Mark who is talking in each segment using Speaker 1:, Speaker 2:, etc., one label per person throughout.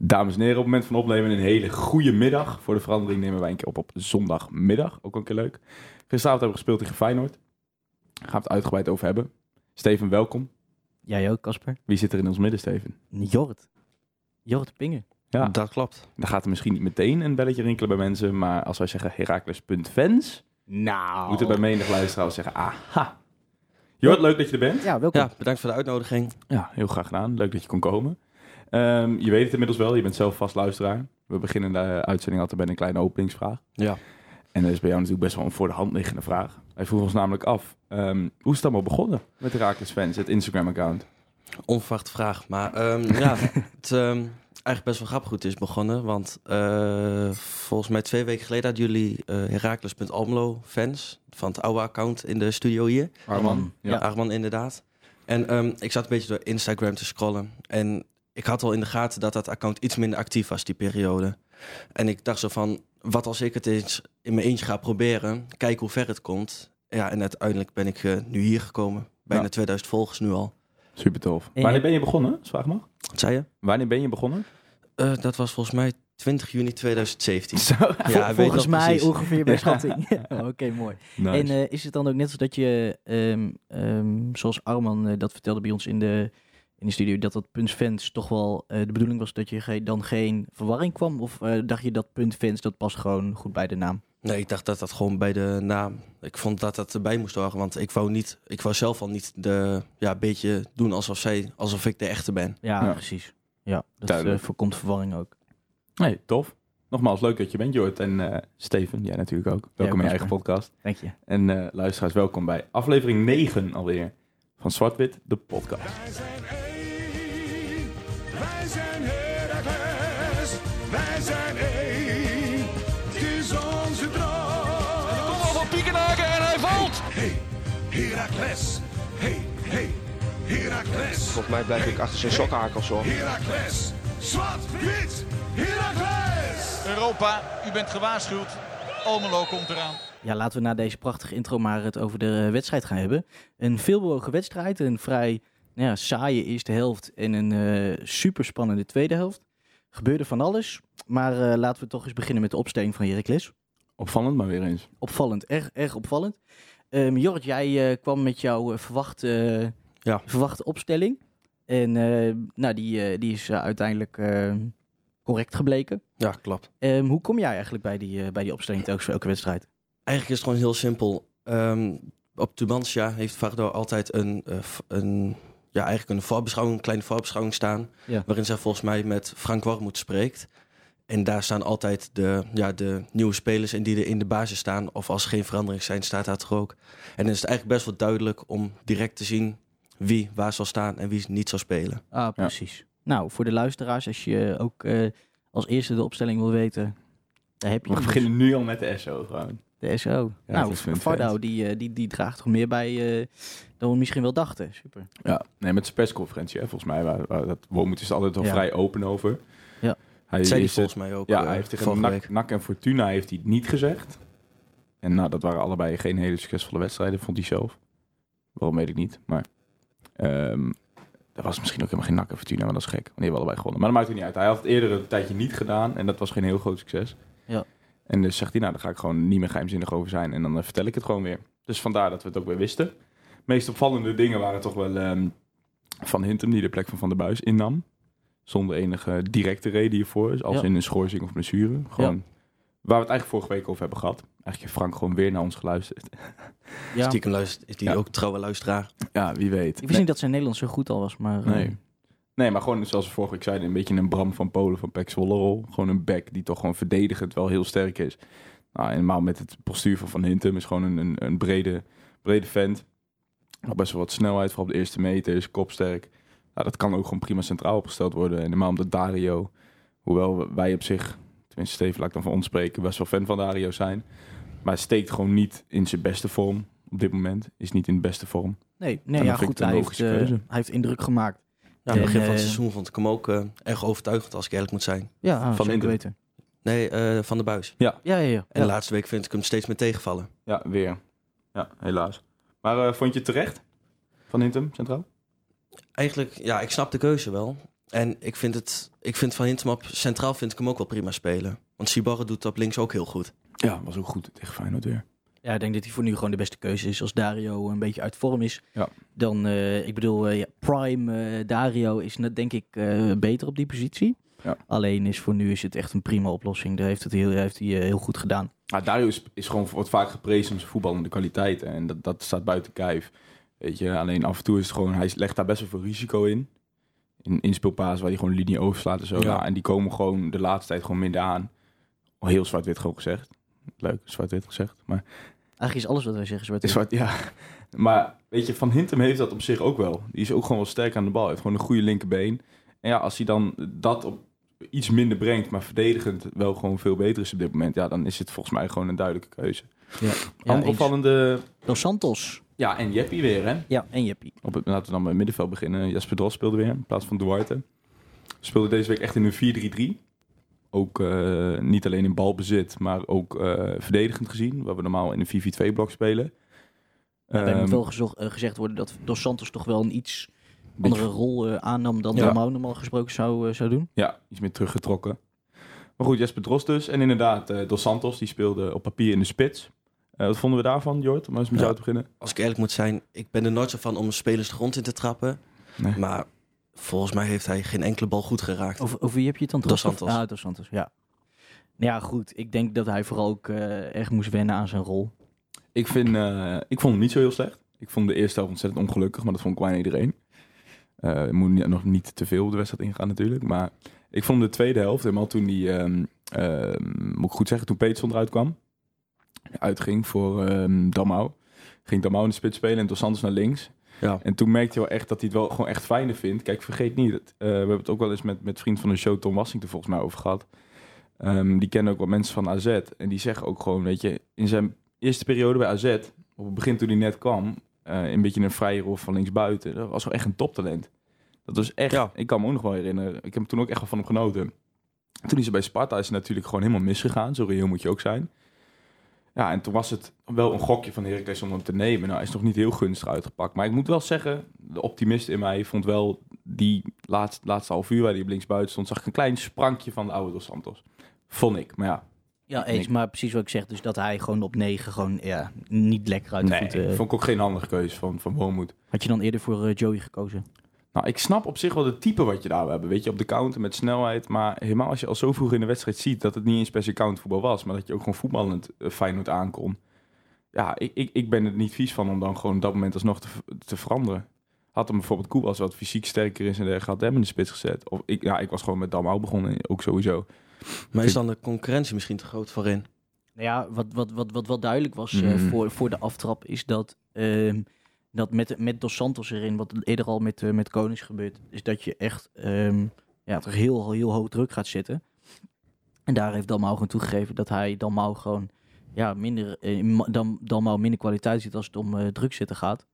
Speaker 1: Dames en heren, op het moment van opnemen een hele goede middag. Voor de verandering nemen wij een keer op op zondagmiddag. Ook een keer leuk. Gisteravond hebben we gespeeld tegen Feyenoord. Daar gaan we het uitgebreid over hebben. Steven, welkom.
Speaker 2: Jij ook, Casper?
Speaker 1: Wie zit er in ons midden, Steven?
Speaker 2: Jorrit. Jorrit Pinger.
Speaker 1: Ja.
Speaker 3: Dat klopt.
Speaker 1: Dan gaat er misschien niet meteen een belletje rinkelen bij mensen. Maar als wij zeggen Heracles.fans,
Speaker 2: Nou.
Speaker 1: moeten bij menig luisteraar wel zeggen aha. Jort, leuk dat je er bent.
Speaker 2: Ja, welkom.
Speaker 3: Ja, bedankt voor de uitnodiging.
Speaker 1: Ja, heel graag gedaan. Leuk dat je kon komen. Ehm, je weet het inmiddels wel, je bent zelf vast luisteraar. We beginnen de eh, uitzending altijd met een kleine openingsvraag.
Speaker 3: Ja.
Speaker 1: En dat is bij jou natuurlijk best wel een voor de hand liggende vraag. Wij vroegen ons namelijk af, ehm, hoe is het allemaal begonnen met Herakles Fans, het Instagram-account?
Speaker 3: Onverwachte vraag. Maar ehm, ja, het ehm, eigenlijk best wel grappig goed is begonnen. Want eh, volgens mij twee weken geleden hadden jullie eh Herakles.almelo fans van het oude account in de studio hier.
Speaker 2: Arman.
Speaker 1: Ja.
Speaker 3: Ja. Arman inderdaad. En ehm, ik zat een beetje door Instagram te scrollen. En ik had al in de gaten dat dat account iets minder actief was die periode. En ik dacht zo van, wat als ik het eens in mijn eentje ga proberen? Kijk hoe ver het komt. Ja, en uiteindelijk ben ik eh, nu hier gekomen. Bijna
Speaker 1: Ja.
Speaker 3: 2000 volgers nu al.
Speaker 1: Super tof.
Speaker 2: En-
Speaker 1: Wanneer ben je begonnen, als vraag mag?
Speaker 3: Wat zei je?
Speaker 1: Wanneer ben je begonnen?
Speaker 3: Eh, dat was volgens mij 20 juni 2017.
Speaker 1: Zo.
Speaker 3: Ja, ik weet
Speaker 2: Volgens
Speaker 3: nog
Speaker 2: mij
Speaker 3: precies.
Speaker 2: ongeveer bij schatting. Oh, Oké, mooi.
Speaker 1: Nice.
Speaker 2: En eh, is het dan ook net als dat je, ehm, ehm, zoals Arman eh, dat vertelde bij ons in de, in de studio, dat dat punt fans toch wel eh, de bedoeling was dat je ge- dan geen verwarring kwam? Of eh, dacht je dat punt fans, dat past gewoon goed bij de naam?
Speaker 3: Nee, ik dacht dat dat gewoon bij de naam. Ik vond dat dat erbij moest horen, want ik wou, niet, ik wou zelf al niet de, ja, een beetje doen alsof, zij, alsof ik de echte ben.
Speaker 2: Ja,
Speaker 1: Ja.
Speaker 2: precies. Ja, dat eh,
Speaker 1: Duidelijk.
Speaker 2: voorkomt verwarring ook.
Speaker 1: Hey, tof. Nogmaals, leuk dat je bent, Jort. En eh, Steven, jij natuurlijk ook. Welkom in
Speaker 2: Casper.
Speaker 1: je eigen podcast.
Speaker 2: Dank je.
Speaker 1: En eh, luisteraars, welkom bij aflevering 9 alweer van Zwart-Wit, de podcast.
Speaker 4: Wij zijn één, wij zijn Heracles, wij zijn één, het is onze droom.
Speaker 5: Kom van Piekenhaken en hij valt.
Speaker 4: Hey, Heracles, hey, hey, Heracles,
Speaker 5: Volgens mij blijf ik achter zijn sokhakels hoor.
Speaker 4: Heracles, zwart-wit, Heracles.
Speaker 6: Europa, u bent gewaarschuwd. Almelo komt eraan.
Speaker 2: Ja, laten we na deze prachtige intro maar het over de eh, wedstrijd gaan hebben. Een veelbewogen wedstrijd, een vrij nou ja, saaie eerste helft en een eh super spannende tweede helft. Gebeurde van alles, maar eh, laten we toch eens beginnen met de opstelling van Heracles.
Speaker 1: Opvallend, maar weer eens.
Speaker 2: Opvallend, erg, erg opvallend. Ehm Jorrit, jij eh, kwam met jouw eh, verwachte, eh,
Speaker 3: Ja.
Speaker 2: verwachte opstelling. En eh, nou, die, eh, die is eh, uiteindelijk eh, correct gebleken.
Speaker 3: Ja, klopt.
Speaker 2: Ehm, hoe kom jij eigenlijk bij die, eh, bij die opstelling telkens voor elke wedstrijd?
Speaker 3: Eigenlijk is het gewoon heel simpel. Ehm, op Tubantia heeft Vardo altijd een, eh, v- een, ja, eigenlijk een voorbeschouwing, een kleine voorbeschouwing staan.
Speaker 2: Ja.
Speaker 3: Waarin zij volgens mij met Frank Wormoed spreekt. En daar staan altijd de, ja, de nieuwe spelers in die er in de basis staan. Of als er geen verandering zijn, staat dat er ook. En dan is het eigenlijk best wel duidelijk om direct te zien wie waar zal staan en wie niet zal spelen.
Speaker 2: Ah,
Speaker 1: Ja.
Speaker 2: precies. Nou, voor de luisteraars, als je ook eh, als eerste de opstellelling wil weten, daar heb je
Speaker 1: We
Speaker 2: hem
Speaker 1: beginnen nu al met de SO gewoon.
Speaker 2: dus. de SO.
Speaker 1: Ja,
Speaker 2: nou,
Speaker 1: dat is mijn
Speaker 2: Fardo,
Speaker 1: vent.
Speaker 2: die, eh, die, die draagt toch meer bij eh, dan we misschien wel dachten. Super.
Speaker 1: Ja, nee, met zijn persconferentie, hè, volgens mij. Waar, waar, dat Wormoed is er altijd wel
Speaker 2: Ja.
Speaker 1: vrij open over.
Speaker 2: Ja.
Speaker 1: Hij,
Speaker 3: Dat zei hij
Speaker 1: is het-
Speaker 3: volgens mij ook
Speaker 1: ja,
Speaker 3: eh,
Speaker 1: hij heeft tegen
Speaker 3: vorige
Speaker 1: NAC,
Speaker 3: week.
Speaker 1: NAC en Fortuna heeft hij het niet gezegd. En nou, dat waren allebei geen hele succesvolle wedstrijden, vond hij zelf. Waarom weet ik niet, maar... ehm dat was misschien ook helemaal geen NAC en Fortuna, maar dat is gek. Want die hebben allebei gewonnen. Maar dat maakt het niet uit. Hij had het eerder een tijdje niet gedaan en dat was geen heel groot succes.
Speaker 2: Ja.
Speaker 1: En dus zegt hij, nou, daar ga ik gewoon niet meer geheimzinnig over zijn. En dan eh, vertel ik het gewoon weer. Dus vandaar dat we het ook weer wisten. De meest opvallende dingen waren toch wel ehm, Van Hintem, die de plek van Van der Buis innam. Zonder enige directe reden hiervoor. Dus Als
Speaker 2: Ja.
Speaker 1: in een schorsing of blessure. Gewoon waar we het eigenlijk vorige week over hebben gehad. Eigenlijk heeft Frank gewoon weer naar ons geluisterd.
Speaker 2: Ja.
Speaker 3: Stiekem luistert, is die
Speaker 1: Ja.
Speaker 3: ook trouwe luisteraar.
Speaker 1: Ja, wie weet.
Speaker 2: Ik wist niet dat zijn Nederlands zo goed al was, maar... eh,
Speaker 1: Nee. Nee, maar gewoon zoals we vorige week zeiden, een beetje een Bram van Polen van Pek Zwolle rol. Gewoon een back die toch gewoon verdedigend wel heel sterk is. Nou, en normaal met het postuur van Van Hintem is gewoon een, een, een brede, brede vent. Nog best wel wat snelheid, vooral op de eerste meters, kopsterk. Nou, dat kan ook gewoon prima centraal opgesteld worden. En normaal omdat Dario, hoewel wij op zich, tenminste Steven, laat ik dan van ons spreken, best wel fan van Dario zijn. Maar steekt gewoon niet in zijn beste vorm op dit moment. Is niet in de beste vorm.
Speaker 2: nee,
Speaker 1: dan
Speaker 2: nee ja,
Speaker 1: vind ik
Speaker 2: goed,
Speaker 1: het een
Speaker 2: hij heeft,
Speaker 1: logische
Speaker 2: eh,
Speaker 1: keuze.
Speaker 2: hij heeft indruk gemaakt.
Speaker 3: Ja, aan Nou, het
Speaker 2: En,
Speaker 3: begin van het
Speaker 2: eh,
Speaker 3: seizoen vond ik hem ook eh, erg overtuigend, als ik eerlijk moet zijn.
Speaker 2: Ja, ah,
Speaker 1: Van
Speaker 2: zeker
Speaker 1: Hintem.
Speaker 2: weten.
Speaker 3: Nee, eh, van de buis.
Speaker 2: Ja, ja, ja.
Speaker 3: En
Speaker 2: Ja.
Speaker 3: de laatste week vind ik hem steeds meer tegenvallen.
Speaker 1: Ja, weer. Ja, helaas. Maar eh, vond je het terecht? Van Hintem, centraal?
Speaker 3: Eigenlijk, ja, ik snap de keuze wel. En ik vind, het, ik vind Van Hintem centraal vind ik hem ook wel prima spelen. Want Sibara doet dat links ook heel goed.
Speaker 1: Ja, was ook goed tegen Feyenoord weer.
Speaker 2: Ja, ik denk dat hij voor nu gewoon de beste keuze is. Als Dario een beetje uit vorm is,
Speaker 1: Ja.
Speaker 2: dan, eh, ik bedoel, eh, ja, Prime eh, Dario is net denk ik eh, beter op die positie.
Speaker 1: Ja.
Speaker 2: Alleen is voor nu is het echt een prima oplossing. Daar heeft, het heel, heeft hij eh, heel goed gedaan.
Speaker 1: Maar Dario is, is gewoon wordt vaak geprezen om zijn voetballende kwaliteit. En dat, dat staat buiten kijf. Weet je, alleen af en toe is het gewoon, hij legt daar best wel veel risico in. In inspeelpaas waar hij gewoon linie overslaat en zo.
Speaker 3: Ja.
Speaker 1: Ja, en die komen gewoon de laatste tijd gewoon minder aan. Al Heel zwart-wit gewoon gezegd. Leuk, zwart-wit gezegd. Maar,
Speaker 2: Eigenlijk is alles wat wij zeggen zwart.
Speaker 1: is zwart, ja. maar weet je, Van Hintem heeft dat op zich ook wel. Die is ook gewoon wel sterk aan de bal. Hij heeft gewoon een goede linkerbeen. En ja, als hij dan dat op iets minder brengt, maar verdedigend wel gewoon veel beter is op dit moment. Ja, dan is het volgens mij gewoon een duidelijke keuze.
Speaker 2: Ja, ja,
Speaker 1: Andere
Speaker 2: eens.
Speaker 1: opvallende...
Speaker 2: Dos Santos.
Speaker 1: Ja, en Jeppy weer, hè?
Speaker 2: Ja, en Jeppie.
Speaker 1: Op het, laten we dan bij het middenveld beginnen. Jasper Dros speelde weer in plaats van Duarte. Speelde deze week echt in een 4-3-3. Ook eh, niet alleen in balbezit, maar ook eh, verdedigend gezien. Waar we normaal in een 4-4-2-blok spelen.
Speaker 2: Maar Daarbij moet
Speaker 1: Ehm,
Speaker 2: wel gezo- eh, gezegd worden dat Dos Santos toch wel een iets
Speaker 1: beetje-
Speaker 2: andere rol eh, aannam dan
Speaker 1: Ja.
Speaker 2: Romao normaal gesproken zou, eh, zou doen.
Speaker 1: Ja, iets meer teruggetrokken. Maar goed, Jasper Dros dus. En inderdaad, eh, Dos Santos, die speelde op papier in de spits. Eh, wat vonden we daarvan, Jort? Om eens met
Speaker 3: Ja.
Speaker 1: jou te beginnen.
Speaker 3: Als ik eerlijk moet zijn, ik ben er nooit zo van om spelers de grond in te trappen.
Speaker 1: Nee. Oh,
Speaker 3: Maar volgens mij heeft hij geen enkele bal goed geraakt.
Speaker 2: Over, over wie heb je het dan?
Speaker 3: Dos
Speaker 2: Of-
Speaker 3: Santos.
Speaker 2: Ah, Dos Santos, ja. Nou Ja, goed. Ik denk dat hij vooral ook eh, echt moest wennen aan zijn rol.
Speaker 1: Ik, vind, eh, ik vond hem niet zo heel slecht. Ik vond de eerste helft ontzettend ongelukkig, maar dat vond ik bijna iedereen. Eh, Ik moet niet- nog niet te veel op de wedstrijd ingaan natuurlijk. Maar ik vond de tweede helft, helemaal toen die, ehm, ehm, moet ik goed zeggen, toen Peterson eruit kwam. Uitging voor ehm Damau. Ging Damau in de spits spelen en Dos Santos naar links.
Speaker 3: Ja.
Speaker 1: En toen merkte je wel echt dat hij het wel gewoon echt fijner vindt. Kijk, vergeet niet, dat, eh, we hebben het ook wel eens met, met vriend van de show Tom Wassington volgens mij over gehad. Ehm, die kennen ook wat mensen van AZ. En die zeggen ook gewoon, weet je, in zijn eerste periode bij AZ, op het begin toen hij net kwam, eh, een beetje een vrije rol van linksbuiten. Dat was wel echt een toptalent. Dat was echt,
Speaker 3: Ja.
Speaker 1: ik kan me ook nog wel herinneren. Ik heb toen ook echt wel van hem genoten. Toen is hij bij Sparta is hij natuurlijk gewoon helemaal misgegaan. Zo reëel moet je ook zijn. Ja, en toen was het wel een gokje van Heracles om hem te nemen. Nou, hij is nog niet heel gunstig uitgepakt. Maar ik moet wel zeggen, de optimist in mij vond wel die laatste, laatste half uur waar hij op linksbuiten stond, zag ik een klein sprankje van de oude Dos Santos. Vond ik, maar ja.
Speaker 2: Ja,
Speaker 1: eens,
Speaker 2: eens, maar precies wat ik zeg. Dus dat hij gewoon op 9 gewoon ja, niet lekker uit de
Speaker 1: Nee,
Speaker 2: voeten... eh.
Speaker 1: vond ik ook geen handige keuze van, van Wormoed.
Speaker 2: Had je dan eerder voor eh, Joey gekozen?
Speaker 1: Nou, ik snap op zich wel het type wat je daar wil hebben. Weet je, op de counter met snelheid. Maar helemaal als je al zo vroeg in de wedstrijd ziet dat het niet eens per se countvoetbal was. Maar dat je ook gewoon voetballend eh, Feyenoord aankon. Ja, ik, ik, ik ben er niet vies van om dan gewoon op dat moment alsnog te, v- te veranderen. Had hem bijvoorbeeld Koebas wat fysiek sterker is en dergelijke, had hem in de spits gezet. Of ik, ja, ik was gewoon met Damau begonnen, ook sowieso.
Speaker 3: Maar is dan de concurrentie misschien te groot voorin?
Speaker 2: Nou ja, wat, wat, wat, wat wel duidelijk was eh,
Speaker 1: Mm.
Speaker 2: voor, voor de aftrap is dat, ehm, dat met, met Dos Santos erin, wat eerder al met, eh, met Konings gebeurt, is dat je echt ehm, ja, toch heel, heel hoog druk gaat zitten. En daar heeft Dalmau gewoon toegegeven dat hij Dalmau gewoon ja, minder, eh, ma- Dam, Dalmau minder kwaliteit ziet als het om eh, druk zitten gaat.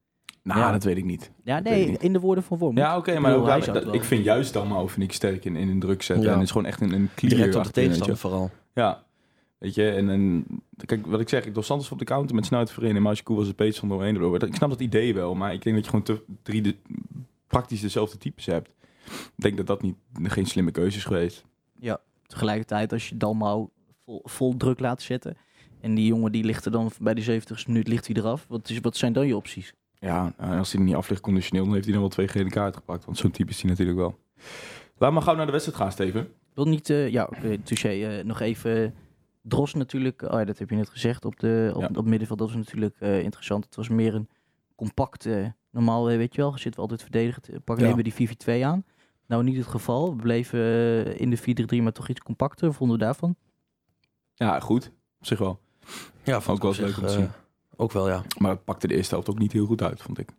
Speaker 1: Nou,
Speaker 2: Ja.
Speaker 1: dat weet ik niet.
Speaker 2: Ja,
Speaker 1: weet ik
Speaker 2: nee,
Speaker 1: niet.
Speaker 2: in de woorden van Worm.
Speaker 1: Ja, oké,
Speaker 2: Ik
Speaker 1: maar
Speaker 2: bedoel,
Speaker 1: ook
Speaker 2: hij
Speaker 1: daar-
Speaker 2: zou het
Speaker 1: dat-
Speaker 2: wel-
Speaker 1: ik vind juist Damau vind ik sterk in, in een druk zetten.
Speaker 3: Ja.
Speaker 1: En het is gewoon echt een, een clear
Speaker 3: Direct op de
Speaker 1: achterin, weet je wel.
Speaker 3: tegenstander vooral.
Speaker 1: Ja, weet je, en, en kijk, wat ik zeg, ik doe Santos op de counter met snelheid voorin en Maasjekoe was het Peets van doorheen. door. Ik snap dat idee wel, maar ik denk dat je gewoon te, drie de, praktisch dezelfde types hebt. Ik denk dat dat niet, geen slimme keuze is geweest.
Speaker 2: tegelijkertijd als je Dalmau vol, vol druk laat zetten. En die jongen die ligt er dan bij de 70ste minuut ligt hij eraf. Wat, is, wat zijn dan je opties?
Speaker 1: Ja, en als hij er niet af ligt conditioneel, dan heeft hij dan wel twee gele kaarten gepakt. Want zo'n type is hij natuurlijk wel. Laat maar gauw naar de wedstrijd gaan, Steven.
Speaker 2: Ik wil niet, eh, ja, oké, touché, eh, nog even Dros natuurlijk. Oh ja, dat heb je net gezegd op, de, op,
Speaker 1: Ja.
Speaker 2: op middenveld. Dat was natuurlijk eh, interessant. Het was meer een compact, eh, normaal eh, weet je wel, zitten we altijd verdedigd. eh, Pakken
Speaker 3: Ja.
Speaker 2: nemen we die 4-4-2 aan. Nou, niet het geval. We bleven eh, in de 4-3-3, maar toch iets compacter. Wat Vonden we daarvan?
Speaker 1: Ja, goed. Op zich wel.
Speaker 3: Ja,
Speaker 1: Ook wel
Speaker 3: ik op
Speaker 1: leuk om
Speaker 3: zich,
Speaker 1: te zien.
Speaker 3: eh, Ook wel, ja.
Speaker 1: Maar het pakte de eerste helft ook niet heel goed uit, vond ik.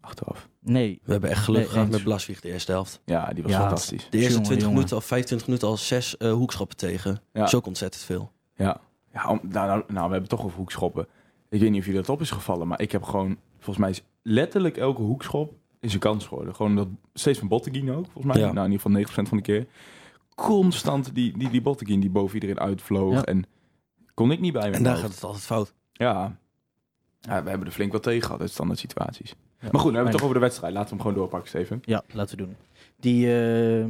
Speaker 1: Achteraf.
Speaker 2: Nee.
Speaker 3: We hebben echt geluk
Speaker 2: Nee,
Speaker 3: gehad
Speaker 2: eens.
Speaker 3: met Blaswieg de eerste helft.
Speaker 1: Ja, die was
Speaker 2: Ja.
Speaker 1: fantastisch.
Speaker 3: De eerste
Speaker 2: Jongen,
Speaker 3: 20
Speaker 2: jongen.
Speaker 3: minuten, al 25 minuten, al zes eh, hoekschoppen tegen.
Speaker 1: Ja.
Speaker 3: Zo ontzettend veel.
Speaker 1: Ja, ja om- nou, nou, nou, we hebben het toch over hoekschoppen. Ik weet niet of jullie dat op is gevallen, maar ik heb gewoon... Volgens mij is letterlijk elke hoekschop is een kans geworden. Gewoon dat, steeds van Botteguin ook, volgens mij.
Speaker 3: Ja.
Speaker 1: Nou, in ieder geval 90% van de keer. Constant die, die, die Botteguin die boven iedereen uitvloog.
Speaker 2: Ja.
Speaker 1: En kon ik niet bij me.
Speaker 3: En daar gaat het altijd fout.
Speaker 1: Ja. Ja, we hebben er flink wat tegen gehad uit standaard situaties. maar goed, dan hebben we het toch over de wedstrijd. Laten we hem gewoon doorpakken, Steven.
Speaker 2: Ja, laten we doen. Die, eh,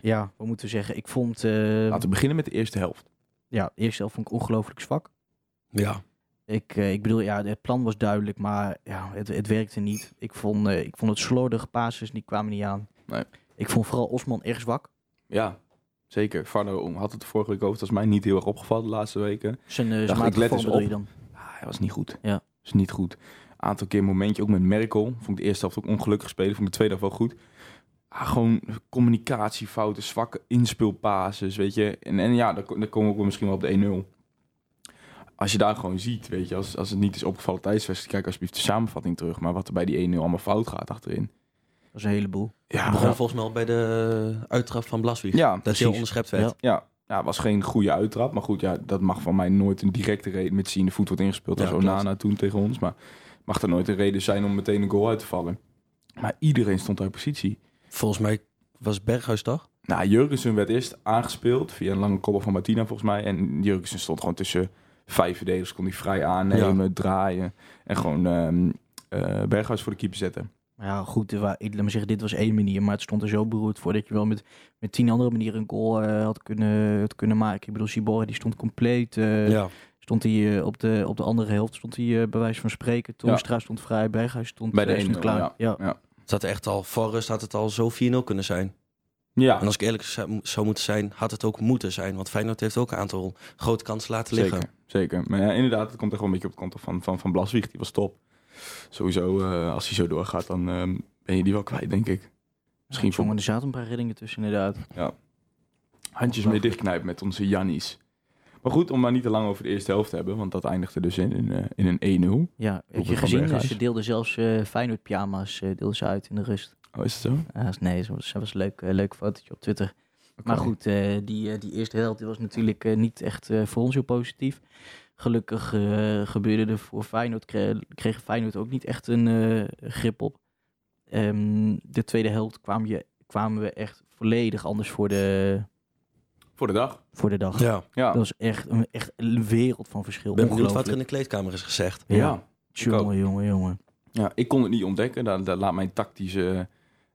Speaker 2: ja, wat moeten we zeggen? Ik vond, eh,
Speaker 1: Laten we beginnen met de eerste helft.
Speaker 2: ja, de eerste helft vond ik ongelooflijk zwak.
Speaker 3: Ja.
Speaker 2: Ik, eh, ik bedoel, ja, het plan was duidelijk, maar ja, het, het werkte niet. Ik vond, eh, ik vond het slordig, passes die kwamen niet aan.
Speaker 1: Nee.
Speaker 2: Ik vond vooral Osman erg zwak.
Speaker 1: Ja, zeker. Varno had het de vorige week over. Dat is mij niet heel erg opgevallen de laatste weken.
Speaker 2: Zijn, eh
Speaker 1: Dacht
Speaker 2: zijn
Speaker 1: ik,
Speaker 2: matige
Speaker 1: let
Speaker 2: vorm
Speaker 1: eens
Speaker 2: bedoel
Speaker 1: op.
Speaker 2: je dan.
Speaker 1: Ah, hij was niet goed.
Speaker 2: Ja.
Speaker 1: Is niet goed. Aantal keer momentje, ook met Merkel. Vond ik de eerste helft ook ongelukkig spelen. Vond ik de tweede helft wel goed. Ah, gewoon communicatiefouten, zwakke inspeelpases, weet je. En, en ja, dan, ko- dan komen we ook wel misschien wel op de 1-0. Als je daar gewoon ziet, weet je, als, als het niet is opgevallen tijdens de wedstrijd, kijk alsjeblieft de samenvatting terug. Maar wat er bij die 1-0 allemaal fout gaat achterin.
Speaker 2: Dat was een heleboel.
Speaker 1: Ja,
Speaker 3: Het begon
Speaker 1: ja.
Speaker 3: volgens mij al bij de uittrap van Blaswieg.
Speaker 1: Ja,
Speaker 3: dat
Speaker 1: precies.
Speaker 3: hij onderschept werd.
Speaker 1: Ja, ja, was geen goede uittrap. Maar goed, ja, dat mag van mij nooit een directe reden met zien de voet wordt ingespeeld.
Speaker 3: Ja,
Speaker 1: als
Speaker 3: klopt.
Speaker 1: Onana toen tegen ons. Maar mag er nooit een reden zijn om meteen een goal uit te vallen. Maar iedereen stond uit positie.
Speaker 3: Volgens mij was Berghuis toch?
Speaker 1: Nou, Jurgensen werd eerst aangespeeld via een lange kopbal van Martina volgens mij. En Jurgensen stond gewoon tussen vijf verdedigers. Kon hij vrij aannemen, draaien en gewoon ehm, eh, Berghuis voor de keeper zetten.
Speaker 2: Maar ja, goed, er wa- ik laat me zeggen, dit was één manier, maar het stond er zo beroerd voor dat je wel met, met tien andere manieren een goal eh, had, kunnen, had kunnen maken. Ik bedoel, Sibor die stond compleet. eh,
Speaker 3: ja.
Speaker 2: Stond hij eh, op, de, op de andere helft, stond hij eh, bij wijze van spreken. Toonstra stond vrij, Berghuis stond,
Speaker 1: Bij de
Speaker 2: eh, stond
Speaker 1: 1-0,
Speaker 2: klaar.
Speaker 1: ja.
Speaker 2: Ja.
Speaker 3: Het had echt al, voor rust had het al zo 4-0 kunnen zijn.
Speaker 1: Ja,
Speaker 3: En als ik eerlijk zou zou moeten zijn, had het ook moeten zijn. Want Feyenoord heeft ook een aantal grote kansen laten liggen.
Speaker 1: Zeker, zeker. Maar ja, inderdaad, het komt echt wel een beetje op het konto van, van, van Blaswieg. Die was top. Sowieso, eh, als hij zo doorgaat, dan ehm, ben je die wel kwijt, denk ik. Misschien
Speaker 2: Misschien
Speaker 1: voor
Speaker 2: zongen er zaten een paar reddingen tussen, inderdaad.
Speaker 1: handjes mee dichtknijpen met onze Jannies. Maar goed, om maar niet te lang over de eerste helft te hebben, want dat eindigde dus in, een, eh, in een 1-0.
Speaker 2: Ja, heb
Speaker 1: Doelpunt
Speaker 2: je
Speaker 1: van
Speaker 2: gezien, eh,
Speaker 1: Berghuis.
Speaker 2: ze deelden zelfs eh Feyenoord pyjama's eh, deelden ze uit in de rust.
Speaker 1: Oh, is dat zo?
Speaker 2: Ah, nee, dat was, dat was een leuk, eh, leuk fotootje op Twitter. Maar goed, eh, die, eh, die eerste helft die was natuurlijk eh, niet echt eh, voor ons heel positief. Gelukkig eh, gebeurde er voor Feyenoord, kre- kreeg Feyenoord ook niet echt een eh, grip op. Ehm, de tweede helft kwam je, kwamen we echt volledig anders voor de,
Speaker 1: Voor de dag.
Speaker 2: voor de dag.
Speaker 3: Ja.
Speaker 1: Ja.
Speaker 2: Dat was echt een, echt een wereld van verschil.
Speaker 3: Ik ben benieuwd wat er in
Speaker 2: Ongelooflijk.
Speaker 3: de kleedkamer is gezegd.
Speaker 1: ja.
Speaker 2: Ja,
Speaker 1: ik ook.
Speaker 2: jongen, jongen, jongen.
Speaker 1: Ja, ik kon het niet ontdekken. Daar, daar laat mijn tactische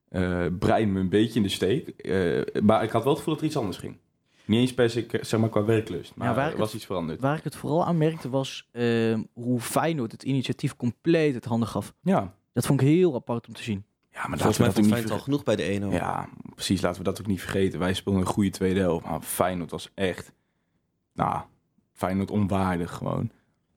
Speaker 1: eh, brein me een beetje in de steek. Eh, maar ik had wel het gevoel dat er iets anders ging. Niet eens per se, zeg maar, qua werklust. Maar
Speaker 2: Ja, waar
Speaker 1: er
Speaker 2: ik
Speaker 1: was
Speaker 2: het-
Speaker 1: iets veranderd.
Speaker 2: Waar ik het vooral aan merkte was ehm, hoe Feyenoord het initiatief compleet het handen gaf.
Speaker 1: Ja.
Speaker 2: Dat vond ik heel apart om te zien.
Speaker 1: Ja, maar
Speaker 3: Volgens
Speaker 1: laten we dat
Speaker 3: mij
Speaker 1: ook
Speaker 3: vond
Speaker 1: niet
Speaker 3: Feyenoord al genoeg bij de 1-0.
Speaker 1: Ja, precies. Laten we dat ook niet vergeten. Wij speelden een goede tweede helft. Maar Feyenoord was echt... Nou, Feyenoord onwaardig gewoon.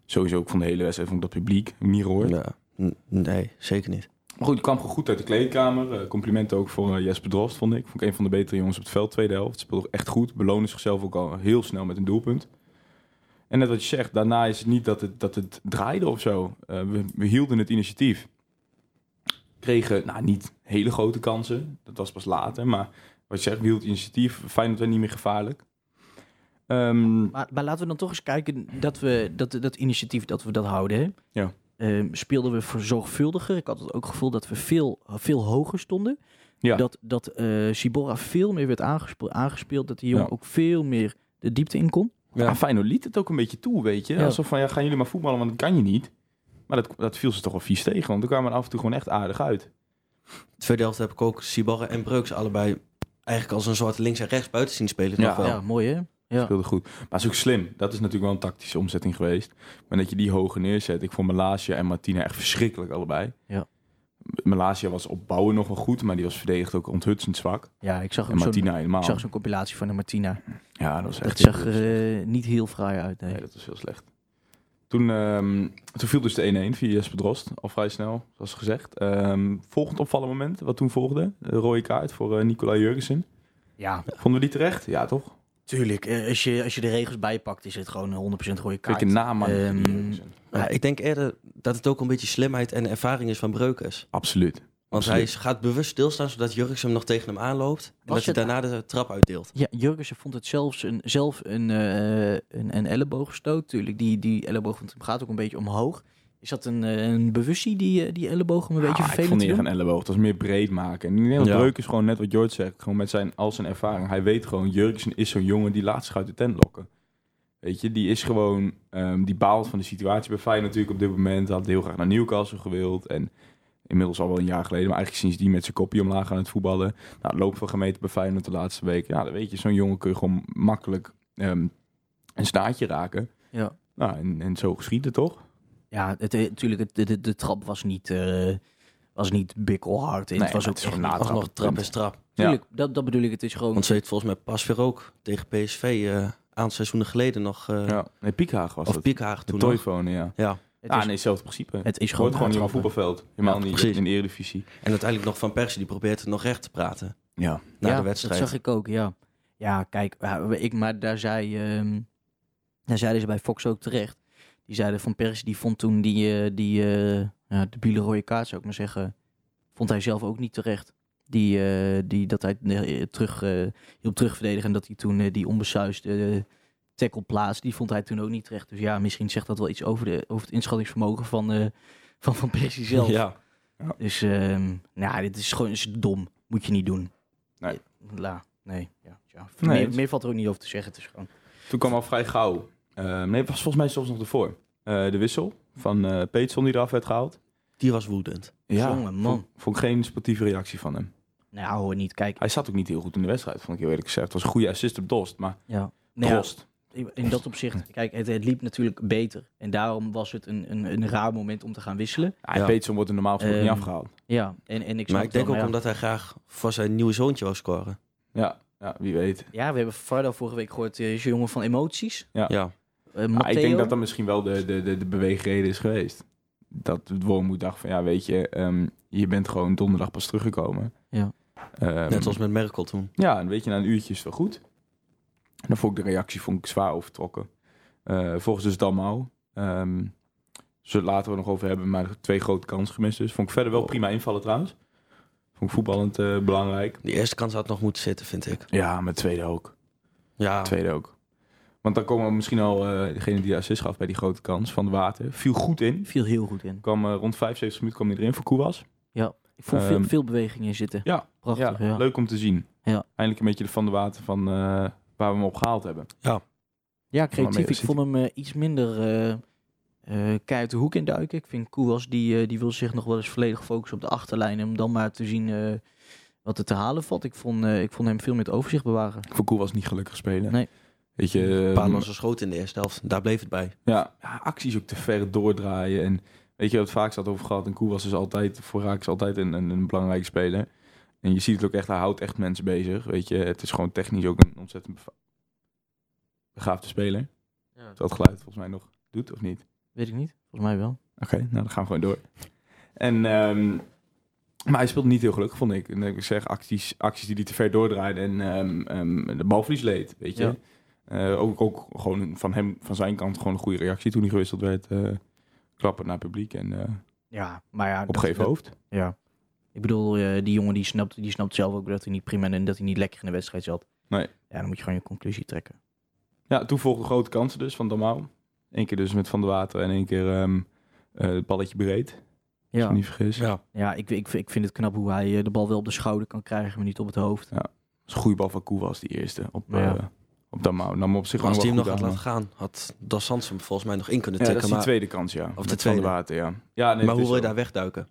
Speaker 1: Sowieso ook van de hele wedstrijd. Vond ik dat publiek heb ik niet gehoord.
Speaker 3: Ja. N- Nee, zeker niet.
Speaker 1: Maar goed, het kwam gewoon goed uit de kleedkamer. Eh, complimenten ook voor eh, Jesper Drost, vond ik. Vond ik een van de betere jongens op het veld. Tweede helft. Speelde echt goed. Beloonde zichzelf ook al heel snel met een doelpunt. En net wat je zegt, daarna is het niet dat het, dat het draaide of zo. Eh, we, we hielden het initiatief. Kregen, nou niet hele grote kansen. Dat was pas later. Maar wat je zegt, we hielden het initiatief. Feyenoord werd niet meer gevaarlijk. Ehm,
Speaker 2: Maar, maar laten we dan toch eens kijken dat we dat, dat initiatief dat we dat houden. Hè?
Speaker 1: Ja.
Speaker 2: Ehm, speelden we voor zorgvuldiger. Ik had het ook het gevoel dat we veel, veel hoger stonden.
Speaker 1: Ja.
Speaker 2: Dat, dat eh Sibora veel meer werd aangespeeld, aangespeeld. Dat die jongen
Speaker 1: Ja.
Speaker 2: ook veel meer de diepte in kon.
Speaker 1: Ja. Feyenoord liet het ook een beetje toe, weet je.
Speaker 2: Ja.
Speaker 1: Alsof van, ja, gaan jullie maar voetballen, want dat kan je niet. Maar dat, dat viel ze toch wel vies tegen, want er kwamen er af en toe gewoon echt aardig uit.
Speaker 3: Tweede helft heb ik ook Sibarre en Breuks allebei eigenlijk als een soort links en rechts buiten zien spelen.
Speaker 1: Ja.
Speaker 3: toch wel.
Speaker 2: Ja, mooi hè? Ja.
Speaker 1: Speelde goed. Maar het is ook slim. Dat is natuurlijk wel een tactische omzetting geweest. Maar dat je die hoger neerzet. Ik vond Malasia en Martina echt verschrikkelijk allebei.
Speaker 2: Ja.
Speaker 1: Malasia was opbouwen nog wel goed, maar die was verdedigd ook onthutsend zwak.
Speaker 2: Ja, ik zag
Speaker 1: En
Speaker 2: ook zo'n
Speaker 1: Martina helemaal.
Speaker 2: ik zag zo'n compilatie van de Martina.
Speaker 1: Ja, dat was echt heel
Speaker 2: Dat zag
Speaker 1: goed.
Speaker 2: er eh, niet heel fraai uit. Nee.
Speaker 1: Nee, dat was heel slecht. Toen, ehm, toen viel dus de 1-1 via Jesper Drost. Al vrij snel, zoals gezegd. Ehm, volgend opvallend moment, wat toen volgde. De rode kaart voor eh Nicola Jurgensen.
Speaker 2: Ja,
Speaker 1: Vonden we die terecht? Ja, toch?
Speaker 2: tuurlijk. Eh, als, je, als je de regels bijpakt, is het gewoon een 100% rode kaart.
Speaker 1: Kijk een naam aan.
Speaker 2: Ehm,
Speaker 1: Jurgensen.
Speaker 3: Ja, ik denk eerder dat het ook een beetje slimheid en ervaring is van Breukers.
Speaker 1: Absoluut.
Speaker 3: Want hij is- gaat bewust stilstaan zodat Jurks hem nog tegen hem aanloopt. En dat
Speaker 2: het-
Speaker 3: hij daarna de trap uitdeelt.
Speaker 2: Ja, Jurgensen vond het zelfs een, zelf een, eh, een, een elleboogstoot. Tuurlijk, die, die elleboog van hem gaat ook een beetje omhoog. Is dat een, eh, een bewustzijn die, eh, die elleboog om een beetje
Speaker 1: Ah, ik vond
Speaker 2: vervelend te
Speaker 1: niet echt
Speaker 2: doen?
Speaker 1: een elleboog. Het was meer breed maken. En ik denk dat
Speaker 3: Ja.
Speaker 1: Breuk is gewoon net wat Jord zegt. Gewoon met zijn, al zijn ervaring. Hij weet gewoon, Jurgensen is zo'n jongen die laat zich uit de tent lokken. Weet je, die is gewoon, ehm, die baalt van de situatie bij Feyenoord natuurlijk op dit moment. Had heel graag naar Newcastle gewild. En inmiddels al wel een jaar geleden, maar eigenlijk sinds die met zijn kopje omlaag aan het voetballen. Nou, loop van gemeten bij Feyenoord de laatste week. Ja, dan weet je, zo'n jongen kun je gewoon makkelijk ehm, een staartje raken.
Speaker 2: Ja.
Speaker 1: Nou, en, en zo geschiedde toch?
Speaker 2: Ja, het, eh, natuurlijk, het, de, de, de trap was niet, eh was niet bikkelhard.
Speaker 1: Nee,
Speaker 2: het was
Speaker 1: maar het
Speaker 2: ook
Speaker 1: is
Speaker 2: echt
Speaker 1: gewoon
Speaker 2: niet-
Speaker 1: natrap.
Speaker 2: alsnog-
Speaker 3: Alsnog trap is trap.
Speaker 2: Tuurlijk, dat, dat bedoel ik. Het is gewoon...
Speaker 3: Want ze heeft volgens mij pas weer ook tegen PSV eh, een aantal seizoenen geleden nog. eh,
Speaker 1: Ja. Nee, Piekhaag was
Speaker 3: Of
Speaker 1: het.
Speaker 3: Piekhaag
Speaker 1: De
Speaker 3: toen nog.
Speaker 1: Toyphone, ja.
Speaker 3: Ja.
Speaker 2: het,
Speaker 1: ah,
Speaker 2: is,
Speaker 1: nee, hetzelfde principe.
Speaker 2: het is gewoon
Speaker 1: Hoort gewoon niet op een
Speaker 2: natrappen.
Speaker 1: voetbalveld. Helemaal
Speaker 3: Ja,
Speaker 1: niet
Speaker 3: precies.
Speaker 1: in de Eredivisie.
Speaker 3: En uiteindelijk nog Van Persie, die probeert het nog recht te praten
Speaker 1: Ja.
Speaker 3: na
Speaker 2: ja,
Speaker 3: de wedstrijd.
Speaker 2: dat zag ik ook, ja. Ja, kijk, ja, ik, maar daar, zei, ehm, daar zeiden ze bij Fox ook terecht. Die zeiden van Persie, die vond toen die, eh die eh ja, debiele rode kaart, zou ik maar zeggen, vond hij zelf ook niet terecht. Die, eh, die, dat hij eh, terug, eh hielp terugverdedigen en dat hij toen eh, die onbesuisde eh, tackle plaatste, die vond hij toen ook niet terecht. Dus ja, misschien zegt dat wel iets over, de, over het inschattingsvermogen van eh, van, van Persie zelf.
Speaker 3: Ja.
Speaker 2: Dus ehm nou, dit is gewoon is dom. Moet je niet doen.
Speaker 1: Nee.
Speaker 2: La, nee. Ja, ja.
Speaker 1: Nee,
Speaker 2: meer,
Speaker 1: het is-
Speaker 2: meer valt er ook niet over te zeggen. Het is gewoon...
Speaker 1: Toen kwam al vrij gauw. eh, nee, het was volgens mij zelfs nog ervoor. Eh, de wissel van eh Peetson die eraf werd gehaald.
Speaker 3: Die was woedend.
Speaker 2: Jongen, man.
Speaker 1: Vond, vond ik geen sportieve reactie van hem.
Speaker 2: Nou, hoor niet. Kijk.
Speaker 1: Hij zat ook niet heel goed in de wedstrijd, vond ik heel eerlijk gezegd. Het was een goede assist op Dost, maar
Speaker 2: Ja. Nou ja,
Speaker 1: Dost.
Speaker 2: in dat opzicht, kijk, het, het liep natuurlijk beter. En daarom was het een, een, een raar moment om te gaan wisselen.
Speaker 1: Ja, en
Speaker 3: Ja.
Speaker 1: Peetson wordt er normaal gesproken
Speaker 2: Ehm,
Speaker 1: niet afgehaald.
Speaker 2: Ja, en, en ik snap
Speaker 3: maar ik
Speaker 2: het
Speaker 3: denk
Speaker 2: wel,
Speaker 3: ook
Speaker 2: maar ja.
Speaker 3: omdat hij graag voor zijn nieuwe zoontje wou scoren.
Speaker 1: Ja, ja, wie weet.
Speaker 2: Ja, we hebben Fardo vorige week gehoord. eh, is een jongen van emoties.
Speaker 1: Ja.
Speaker 3: Ja.
Speaker 2: Eh,
Speaker 1: Maar ik denk
Speaker 2: Matteo.
Speaker 1: dat dat misschien wel de, de, de, de beweegreden is geweest. Dat het Wormoed dacht van, ja, weet je, ehm, je bent gewoon donderdag pas teruggekomen.
Speaker 2: Ja.
Speaker 1: Ehm,
Speaker 3: Net als met Merkel toen.
Speaker 1: Ja, en weet je, na een uurtje is het wel goed. En dan vond ik de reactie vond ik zwaar overtrokken. Eh, volgens dus Dalmau. Ehm zullen we het later wel nog over hebben, maar twee grote kansen gemist dus. Vond ik verder wel prima invallen trouwens. Vond ik voetballend eh, belangrijk.
Speaker 3: Die eerste kans had nog moeten zitten, vind ik.
Speaker 1: Ja, maar tweede ook.
Speaker 3: Ja.
Speaker 1: Tweede ook. Want dan komen we misschien al eh, degene die de assist gaf bij die grote kans van de water. Viel goed in.
Speaker 2: viel heel goed in.
Speaker 1: Kwam, eh, rond 75 minuten kwam hij erin voor Koewas.
Speaker 2: Ik vond veel,
Speaker 1: Ehm,
Speaker 2: veel beweging in zitten.
Speaker 1: ja,
Speaker 2: Prachtig, ja.
Speaker 1: Leuk om te zien.
Speaker 2: Ja.
Speaker 1: Eindelijk een beetje de van de water van eh, waar we hem op gehaald hebben.
Speaker 2: Ja, creatief.
Speaker 1: Almere
Speaker 2: Ik
Speaker 1: City.
Speaker 2: vond hem eh, iets minder eh eh, keihard de hoek in duiken. Ik vind Koewas, die, eh, die wil zich nog wel eens volledig focussen op de achterlijn. Om dan maar te zien eh, wat er te halen valt. Ik vond, eh, ik vond hem veel meer het overzicht bewaren.
Speaker 1: Voor Koel was niet gelukkig spelen.
Speaker 2: Nee.
Speaker 1: Weet je,
Speaker 3: Een paar
Speaker 1: ehm,
Speaker 3: losse schoten in de eerste helft. Daar bleef het bij.
Speaker 1: ja, ja, acties ook te ver doordraaien. En weet je, wat het vaak zat over gehad. En Koel was dus altijd, voor Raak is altijd een, een, een belangrijke speler. En je ziet het ook echt, hij houdt echt mensen bezig. Weet je, het is gewoon technisch ook een ontzettend beva- begaafde speler. Is Dat geluid volgens mij nog doet, of niet?
Speaker 2: Weet ik niet. Volgens mij wel.
Speaker 1: Oké, nou dan gaan we gewoon door. En, ehm, maar hij speelde niet heel gelukkig, vond ik. En ik zeg, acties, acties die hij te ver doordraaiden en ehm, ehm, de balverlies leed, weet je.
Speaker 2: Ja.
Speaker 1: Eh, ook, ook gewoon een- van hem, van zijn kant, gewoon een goede reactie toen hij gewisseld werd. eh klappen naar het publiek en eh
Speaker 2: Ja, maar ja. dat-
Speaker 1: opgeven
Speaker 2: dat-
Speaker 1: hoofd.
Speaker 2: Ja. Ik bedoel, eh, die jongen die snapt, die snapt zelf ook dat hij niet prima en dat hij niet lekker in de wedstrijd zat.
Speaker 1: Nee.
Speaker 2: Ja, dan moet je gewoon je conclusie trekken.
Speaker 1: Ja, toen volgden grote kansen dus van Damau. Eén keer dus met Van der Water en één keer ehm, eh, het balletje breed, als ik
Speaker 2: Ja,
Speaker 1: me niet vergis.
Speaker 3: Ja.
Speaker 2: ja ik, ik, ik vind het knap hoe hij eh, de bal wel op de schouder kan krijgen, maar niet op het hoofd.
Speaker 1: Dat is een goede bal van Koe was die eerste op, eh
Speaker 2: Ja.
Speaker 1: op Damau. Nam op zich
Speaker 3: Als
Speaker 1: wel
Speaker 3: die hem nog
Speaker 1: goed
Speaker 3: had
Speaker 1: aan,
Speaker 3: laten gaan, had Dos Santos hem volgens mij nog in kunnen
Speaker 1: Ja, dat
Speaker 3: tikken.
Speaker 1: is die
Speaker 3: maar
Speaker 1: tweede kans, ja. Met
Speaker 3: de
Speaker 1: Van der
Speaker 3: tweede.
Speaker 1: Water, ja. ja nee,
Speaker 3: maar
Speaker 1: het
Speaker 3: hoe
Speaker 1: is
Speaker 3: wil
Speaker 1: zo.
Speaker 3: je daar wegduiken?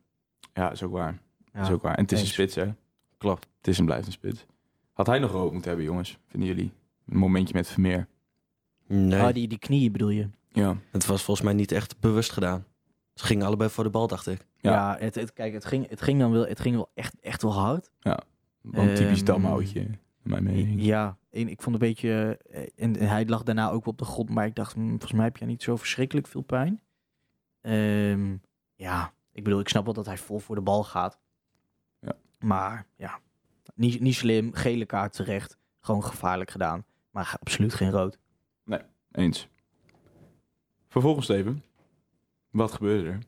Speaker 1: Ja, is ook waar.
Speaker 2: Ja.
Speaker 1: Is ook waar. En het is een
Speaker 2: eens.
Speaker 1: spits, hè?
Speaker 3: Klopt.
Speaker 1: Het is en blijft een spits. Had hij nog rood moeten hebben, jongens? Vinden jullie? Een momentje met Vermeer.
Speaker 3: Nee.
Speaker 2: Ah, die, die knieën bedoel je?
Speaker 1: Ja.
Speaker 3: Het was volgens mij niet echt bewust gedaan. Ze gingen allebei voor de bal, dacht ik.
Speaker 1: Ja.
Speaker 2: Ja, het, het, kijk, het ging, het ging dan wel, het ging wel echt, echt wel hard.
Speaker 1: Wel een typisch
Speaker 2: Ehm,
Speaker 1: damhoutje, in mijn mening.
Speaker 2: Ja, en ik vond een beetje... eh, En, en hij lag daarna ook wel op de grond, maar ik dacht, hmm, volgens mij heb jij niet zo verschrikkelijk veel pijn. Ehm, ja, ik bedoel, ik snap wel dat hij vol voor de bal gaat.
Speaker 1: Ja.
Speaker 2: Maar ja, niet, niet slim, gele kaart terecht, gewoon gevaarlijk gedaan. Maar absoluut geen rood.
Speaker 1: Eens. Vervolgens, Steven. Wat gebeurde er?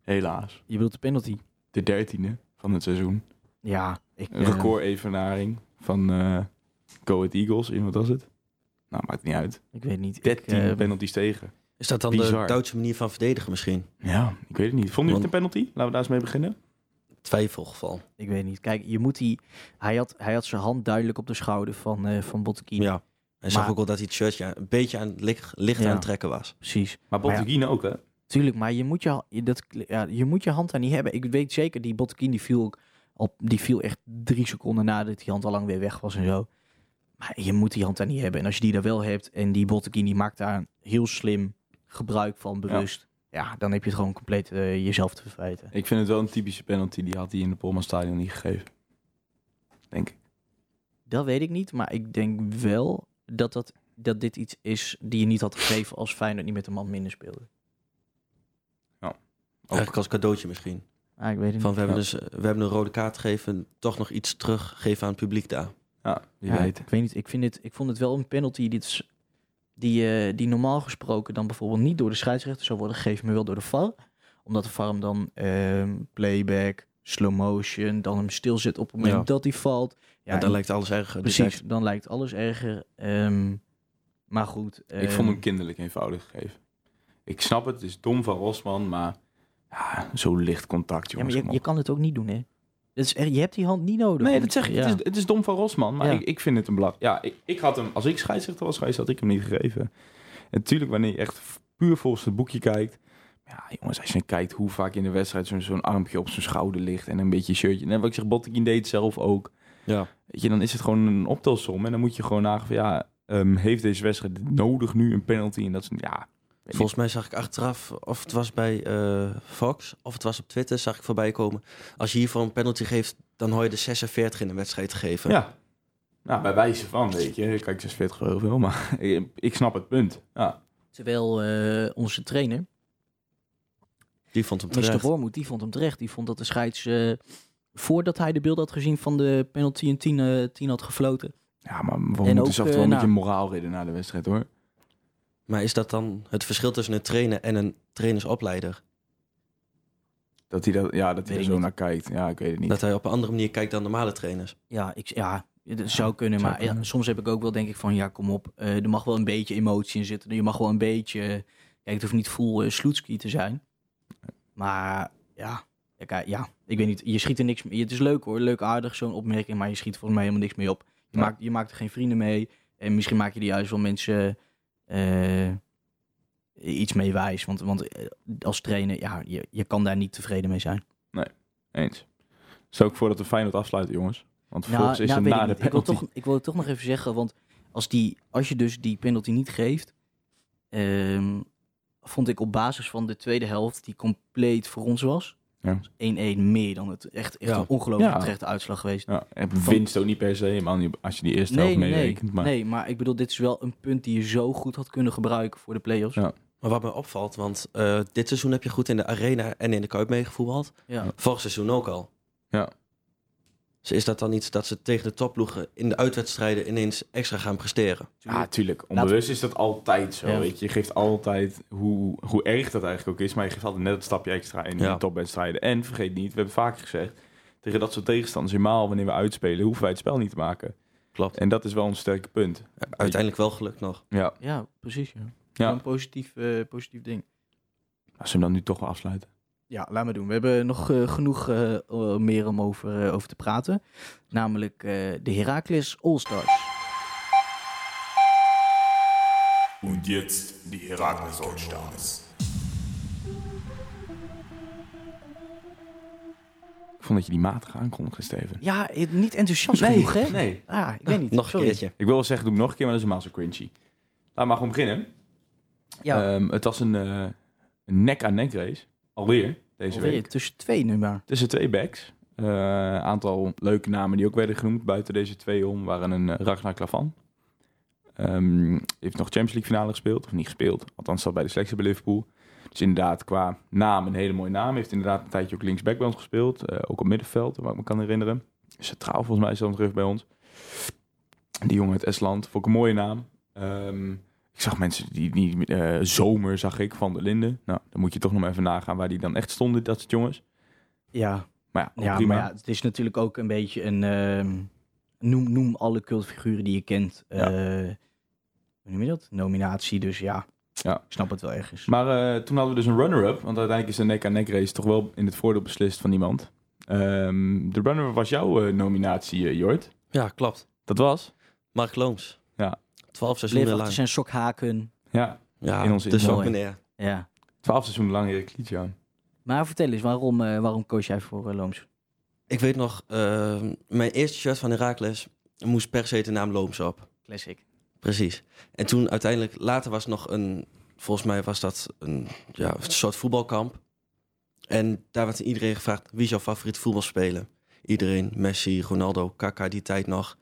Speaker 1: Helaas.
Speaker 2: Je bedoelt de penalty?
Speaker 1: De dertiende van het seizoen.
Speaker 2: Ja, ik...
Speaker 1: Een
Speaker 2: eh,
Speaker 1: record-evenaring van eh Go Ahead Eagles. In wat was het? Nou, maakt niet uit.
Speaker 2: ik weet niet. Ik,
Speaker 1: 13
Speaker 3: ehm,
Speaker 2: eh,
Speaker 1: penalties tegen.
Speaker 3: Is dat dan
Speaker 1: Bizar.
Speaker 3: de Duitse manier van verdedigen misschien?
Speaker 1: Ja, ik weet het niet. Vonden jullie het een penalty? Laten we daar eens mee beginnen.
Speaker 3: Twijfelgeval.
Speaker 2: ik weet niet. Kijk, je moet die... Hij had, hij had zijn hand duidelijk op de schouder van, eh van Bottekin.
Speaker 3: Ja. Hij zag
Speaker 2: Maar-
Speaker 3: ook wel dat hij het shirtje een beetje aan, licht, licht
Speaker 2: Ja.
Speaker 3: aan het trekken was.
Speaker 2: Precies.
Speaker 1: Maar Botteguin ook, hè?
Speaker 2: Tuurlijk, maar je moet je, ha- je- dat, ja, je moet je hand daar niet hebben. Ik weet zeker, die Bottekin die viel, ook al, die viel echt drie seconden nadat die hand al lang weer weg was en zo. Maar je moet die hand daar niet hebben. En als je die daar wel hebt en die Bottekin die maakt daar heel slim gebruik van bewust. Ja, dan heb je het gewoon compleet eh, jezelf te verwijten.
Speaker 1: Ik vind het wel een typische penalty. Die had hij in de Polman Stadion niet gegeven. Denk ik.
Speaker 2: Dat weet ik niet, maar ik denk wel dat, dat, dat dit iets is die je niet had gegeven als Feyenoord niet met een man minder speelde.
Speaker 3: Eigenlijk als cadeautje misschien.
Speaker 2: Ah, ik weet het
Speaker 3: Van
Speaker 2: niet.
Speaker 3: we hebben
Speaker 1: Ja.
Speaker 3: dus eh, we hebben een rode kaart gegeven, toch nog iets teruggeven aan het publiek daar.
Speaker 1: Ja, wie
Speaker 2: Ja,
Speaker 1: weet.
Speaker 2: Ik weet niet. Ik, vind het, ik vond het wel een penalty die, is- die, eh, die normaal gesproken dan bijvoorbeeld niet door de scheidsrechter zou worden gegeven, maar wel door de VAR. Omdat de VAR hem dan ehm, playback, slow motion, dan hem stilzet op het moment
Speaker 3: Ja.
Speaker 2: dat hij valt. Ja,
Speaker 3: Ja, dan
Speaker 2: en-
Speaker 3: lijkt alles erger. Dus
Speaker 2: precies. Dan lijkt alles erger. ehm, maar goed.
Speaker 1: Ik
Speaker 2: ehm,
Speaker 1: vond hem kinderlijk eenvoudig gegeven. Ik snap het, het is dom van Rosman, maar ja, zo licht contact,
Speaker 2: ja, maar
Speaker 1: jongens.
Speaker 2: je,
Speaker 1: kom
Speaker 2: je
Speaker 1: op.
Speaker 2: kan het ook niet doen, hè? Dat is echt- je hebt die hand niet nodig.
Speaker 1: Nee,
Speaker 2: om-
Speaker 1: dat zeg ik.
Speaker 2: ja.
Speaker 1: Het, is, het is dom van Rosman, maar
Speaker 2: Ja.
Speaker 1: ik, ik vind het een blad. Ja, ik, ik had hem, als ik scheidsrechter was geweest, had ik hem niet gegeven. En natuurlijk, wanneer je echt f- puur volgens het boekje kijkt. Ja, jongens, als je kijkt hoe vaak in de wedstrijd zo'n zo'n armpje op zijn schouder ligt en een beetje shirtje. En wat ik zeg, Bottekin deed het zelf ook.
Speaker 3: Ja.
Speaker 1: Weet je, dan is het gewoon een optelsom. En dan moet je gewoon nagaan van, ja, ehm, heeft deze wedstrijd nodig nu een penalty? En dat is, ja,
Speaker 3: Volgens mij zag ik achteraf, of het was bij eh, Fox, of het was op Twitter, zag ik voorbij komen. Als je hiervoor een penalty geeft, dan hoor je de 46 in een wedstrijd te geven.
Speaker 1: Ja. Nou, bij wijze van, weet je. Kijk, ze is 40 heel veel, maar ik, ik snap het punt. Ja.
Speaker 2: Terwijl eh, onze trainer,
Speaker 3: Die vond hem
Speaker 2: Mr.
Speaker 3: terecht.
Speaker 2: Wormoed, die vond hem terecht. Die vond dat de scheids, eh, voordat hij de beelden had gezien van de penalty, een 10 eh, 10 had gefloten.
Speaker 1: ja, maar waarom
Speaker 2: En
Speaker 1: moeten
Speaker 2: ook,
Speaker 1: ze
Speaker 2: eh,
Speaker 1: wel een
Speaker 2: nou-
Speaker 1: beetje moraal reden na de wedstrijd, hoor.
Speaker 3: Maar is dat dan het verschil tussen een trainer en een trainersopleider?
Speaker 1: Dat hij, dat, ja, dat hij
Speaker 2: ik
Speaker 1: er zo
Speaker 2: niet.
Speaker 1: naar kijkt. Ja, ik weet het niet.
Speaker 3: Dat hij op een andere manier kijkt dan normale trainers.
Speaker 2: Ja, ik, ja dat zou kunnen.
Speaker 1: zou
Speaker 2: maar ja,
Speaker 1: kunnen.
Speaker 2: soms heb ik ook wel denk ik van, ja, kom op. eh, er mag wel een beetje emotie in zitten. Je mag wel een beetje... eh, Kijk, het hoeft niet full eh, sloetski te zijn. Maar ja, ja, kijk, ja, ik weet niet. Je schiet er niks mee. Het is leuk hoor, leuk aardig zo'n opmerking. Maar je schiet volgens mij helemaal niks mee op. Je,
Speaker 1: Nee.
Speaker 2: maakt, je maakt er geen vrienden mee. En misschien maak je er juist wel mensen eh, iets mee wijs. Want, want eh, als trainer, ja, je, je kan daar niet tevreden mee zijn.
Speaker 1: Eens. Stel ik voor dat we Feyenoord afsluiten, jongens. Want vervolgens is
Speaker 2: nou,
Speaker 1: het
Speaker 2: weet
Speaker 1: na
Speaker 2: ik
Speaker 1: de
Speaker 2: niet. ik wil,
Speaker 1: penalty.
Speaker 2: toch, ik wil het toch nog even zeggen, want als, die, als je dus die penalty niet geeft, ehm, vond ik op basis van de tweede helft, die compleet voor ons was,
Speaker 1: Ja.
Speaker 2: 1-1 meer dan het. Echt, echt
Speaker 3: Ja.
Speaker 2: een ongelooflijk
Speaker 1: Ja.
Speaker 2: terechte uitslag geweest.
Speaker 1: Ja, en winst ook niet per se, maar niet als je die eerste
Speaker 2: Nee,
Speaker 1: helft
Speaker 2: nee, nee,
Speaker 1: meerekent. Maar
Speaker 2: nee, maar ik bedoel, dit is wel een punt die je zo goed had kunnen gebruiken voor de play-offs.
Speaker 1: Ja.
Speaker 2: Ja.
Speaker 3: Maar wat mij opvalt, want eh, dit seizoen heb je goed in de arena en in de Kuip meegevoetbald. Vorig seizoen ook al.
Speaker 1: Ja.
Speaker 3: Dus is dat dan iets dat ze tegen de topploegen in de uitwedstrijden ineens extra gaan presteren?
Speaker 1: Ja, tuurlijk. Onbewust is dat altijd zo.
Speaker 2: Ja.
Speaker 1: Weet je. je geeft altijd, hoe, hoe erg dat eigenlijk ook is, maar je geeft altijd net het stapje extra in
Speaker 3: Ja.
Speaker 1: de topwedstrijden. En vergeet niet, we hebben vaak gezegd, tegen dat soort tegenstanders, helemaal wanneer we uitspelen, hoeven wij het spel niet te maken.
Speaker 3: Klopt.
Speaker 1: En dat is wel een sterke punt.
Speaker 3: Uiteindelijk wel gelukt nog.
Speaker 1: Ja.
Speaker 2: precies. Ja.
Speaker 1: ja.
Speaker 2: Een positief, eh, positief ding.
Speaker 1: Als we hem dan nu toch wel afsluiten.
Speaker 2: Ja, laat maar doen. We hebben nog eh, genoeg eh, eh, meer om over, eh, over te praten. Namelijk eh, de Heracles All-Stars.
Speaker 7: Und jetzt die Herakles Oldstars.
Speaker 1: Ik vond dat je die matig aankondigde, Steven.
Speaker 2: Ja, eh, niet enthousiast genoeg, hè?
Speaker 1: nee.
Speaker 2: Ah, ik weet niet.
Speaker 3: Nog een
Speaker 2: Sorry.
Speaker 3: keertje.
Speaker 1: Ik wil wel zeggen, doe hem nog een keer, maar dat is helemaal zo cringy. Laat maar gewoon beginnen.
Speaker 2: Ja,
Speaker 1: Ehm, het was een eh, een nek-aan-nek race. Alweer, deze
Speaker 2: alweer
Speaker 1: week.
Speaker 2: tussen twee nu maar.
Speaker 1: Tussen twee backs. Eh, Een aantal leuke namen die ook werden genoemd buiten deze twee om waren een eh, Ragnar Klavan. Ehm, heeft nog Champions League finale gespeeld, of niet gespeeld. Althans, zat bij de selectie bij Liverpool. Dus inderdaad, qua naam een hele mooie naam. Heeft inderdaad een tijdje ook linksback bij ons gespeeld. eh, ook op middenveld, waar ik me kan herinneren. Centraal volgens mij is dat nog terug bij ons. Die jongen uit Estland. Vond ik een mooie naam. Ehm, ik zag mensen die, die eh, zomer zag ik van de Linden. Nou, dan moet je toch nog maar even nagaan waar die dan echt stonden, dat soort jongens.
Speaker 2: Ja,
Speaker 1: Maar ja, ook
Speaker 2: ja
Speaker 1: prima.
Speaker 2: maar ja, het is natuurlijk ook een beetje een... ehm, noem, noem alle cultfiguren die je kent. eh
Speaker 1: Ja.
Speaker 2: hoe noem je dat? Nominatie, dus ja.
Speaker 1: Ja.
Speaker 2: Ik snap het wel ergens.
Speaker 1: Maar eh, toen hadden we dus een runner-up. Want uiteindelijk is de nek-aan-nek race toch wel in het voordeel beslist van iemand. Ehm, de runner-up was jouw eh, nominatie, eh, Jort.
Speaker 3: Ja, klopt.
Speaker 1: Dat was?
Speaker 3: Mark Looms.
Speaker 1: Ja.
Speaker 3: Twaalf seizoenen
Speaker 2: Leverachtig
Speaker 3: lang.
Speaker 2: zijn sokhaken.
Speaker 1: Ja,
Speaker 3: Ja,
Speaker 1: in ons
Speaker 3: dus
Speaker 2: mooi.
Speaker 3: ook meneer.
Speaker 2: Ja.
Speaker 1: twaalf seizoenen lang Erik Liedje aan.
Speaker 2: Maar vertel eens, waarom, eh, waarom koos jij voor eh, Looms?
Speaker 3: Ik weet nog, eh, mijn eerste shirt van Herakles moest per se de naam Looms op.
Speaker 2: Classic.
Speaker 3: Precies. En toen uiteindelijk, later was nog een, volgens mij was dat een, ja, een soort voetbalkamp. En daar werd iedereen gevraagd, wie is jouw favoriet voetbalspeler? Iedereen, Messi, Ronaldo, Kaka, die tijd nog.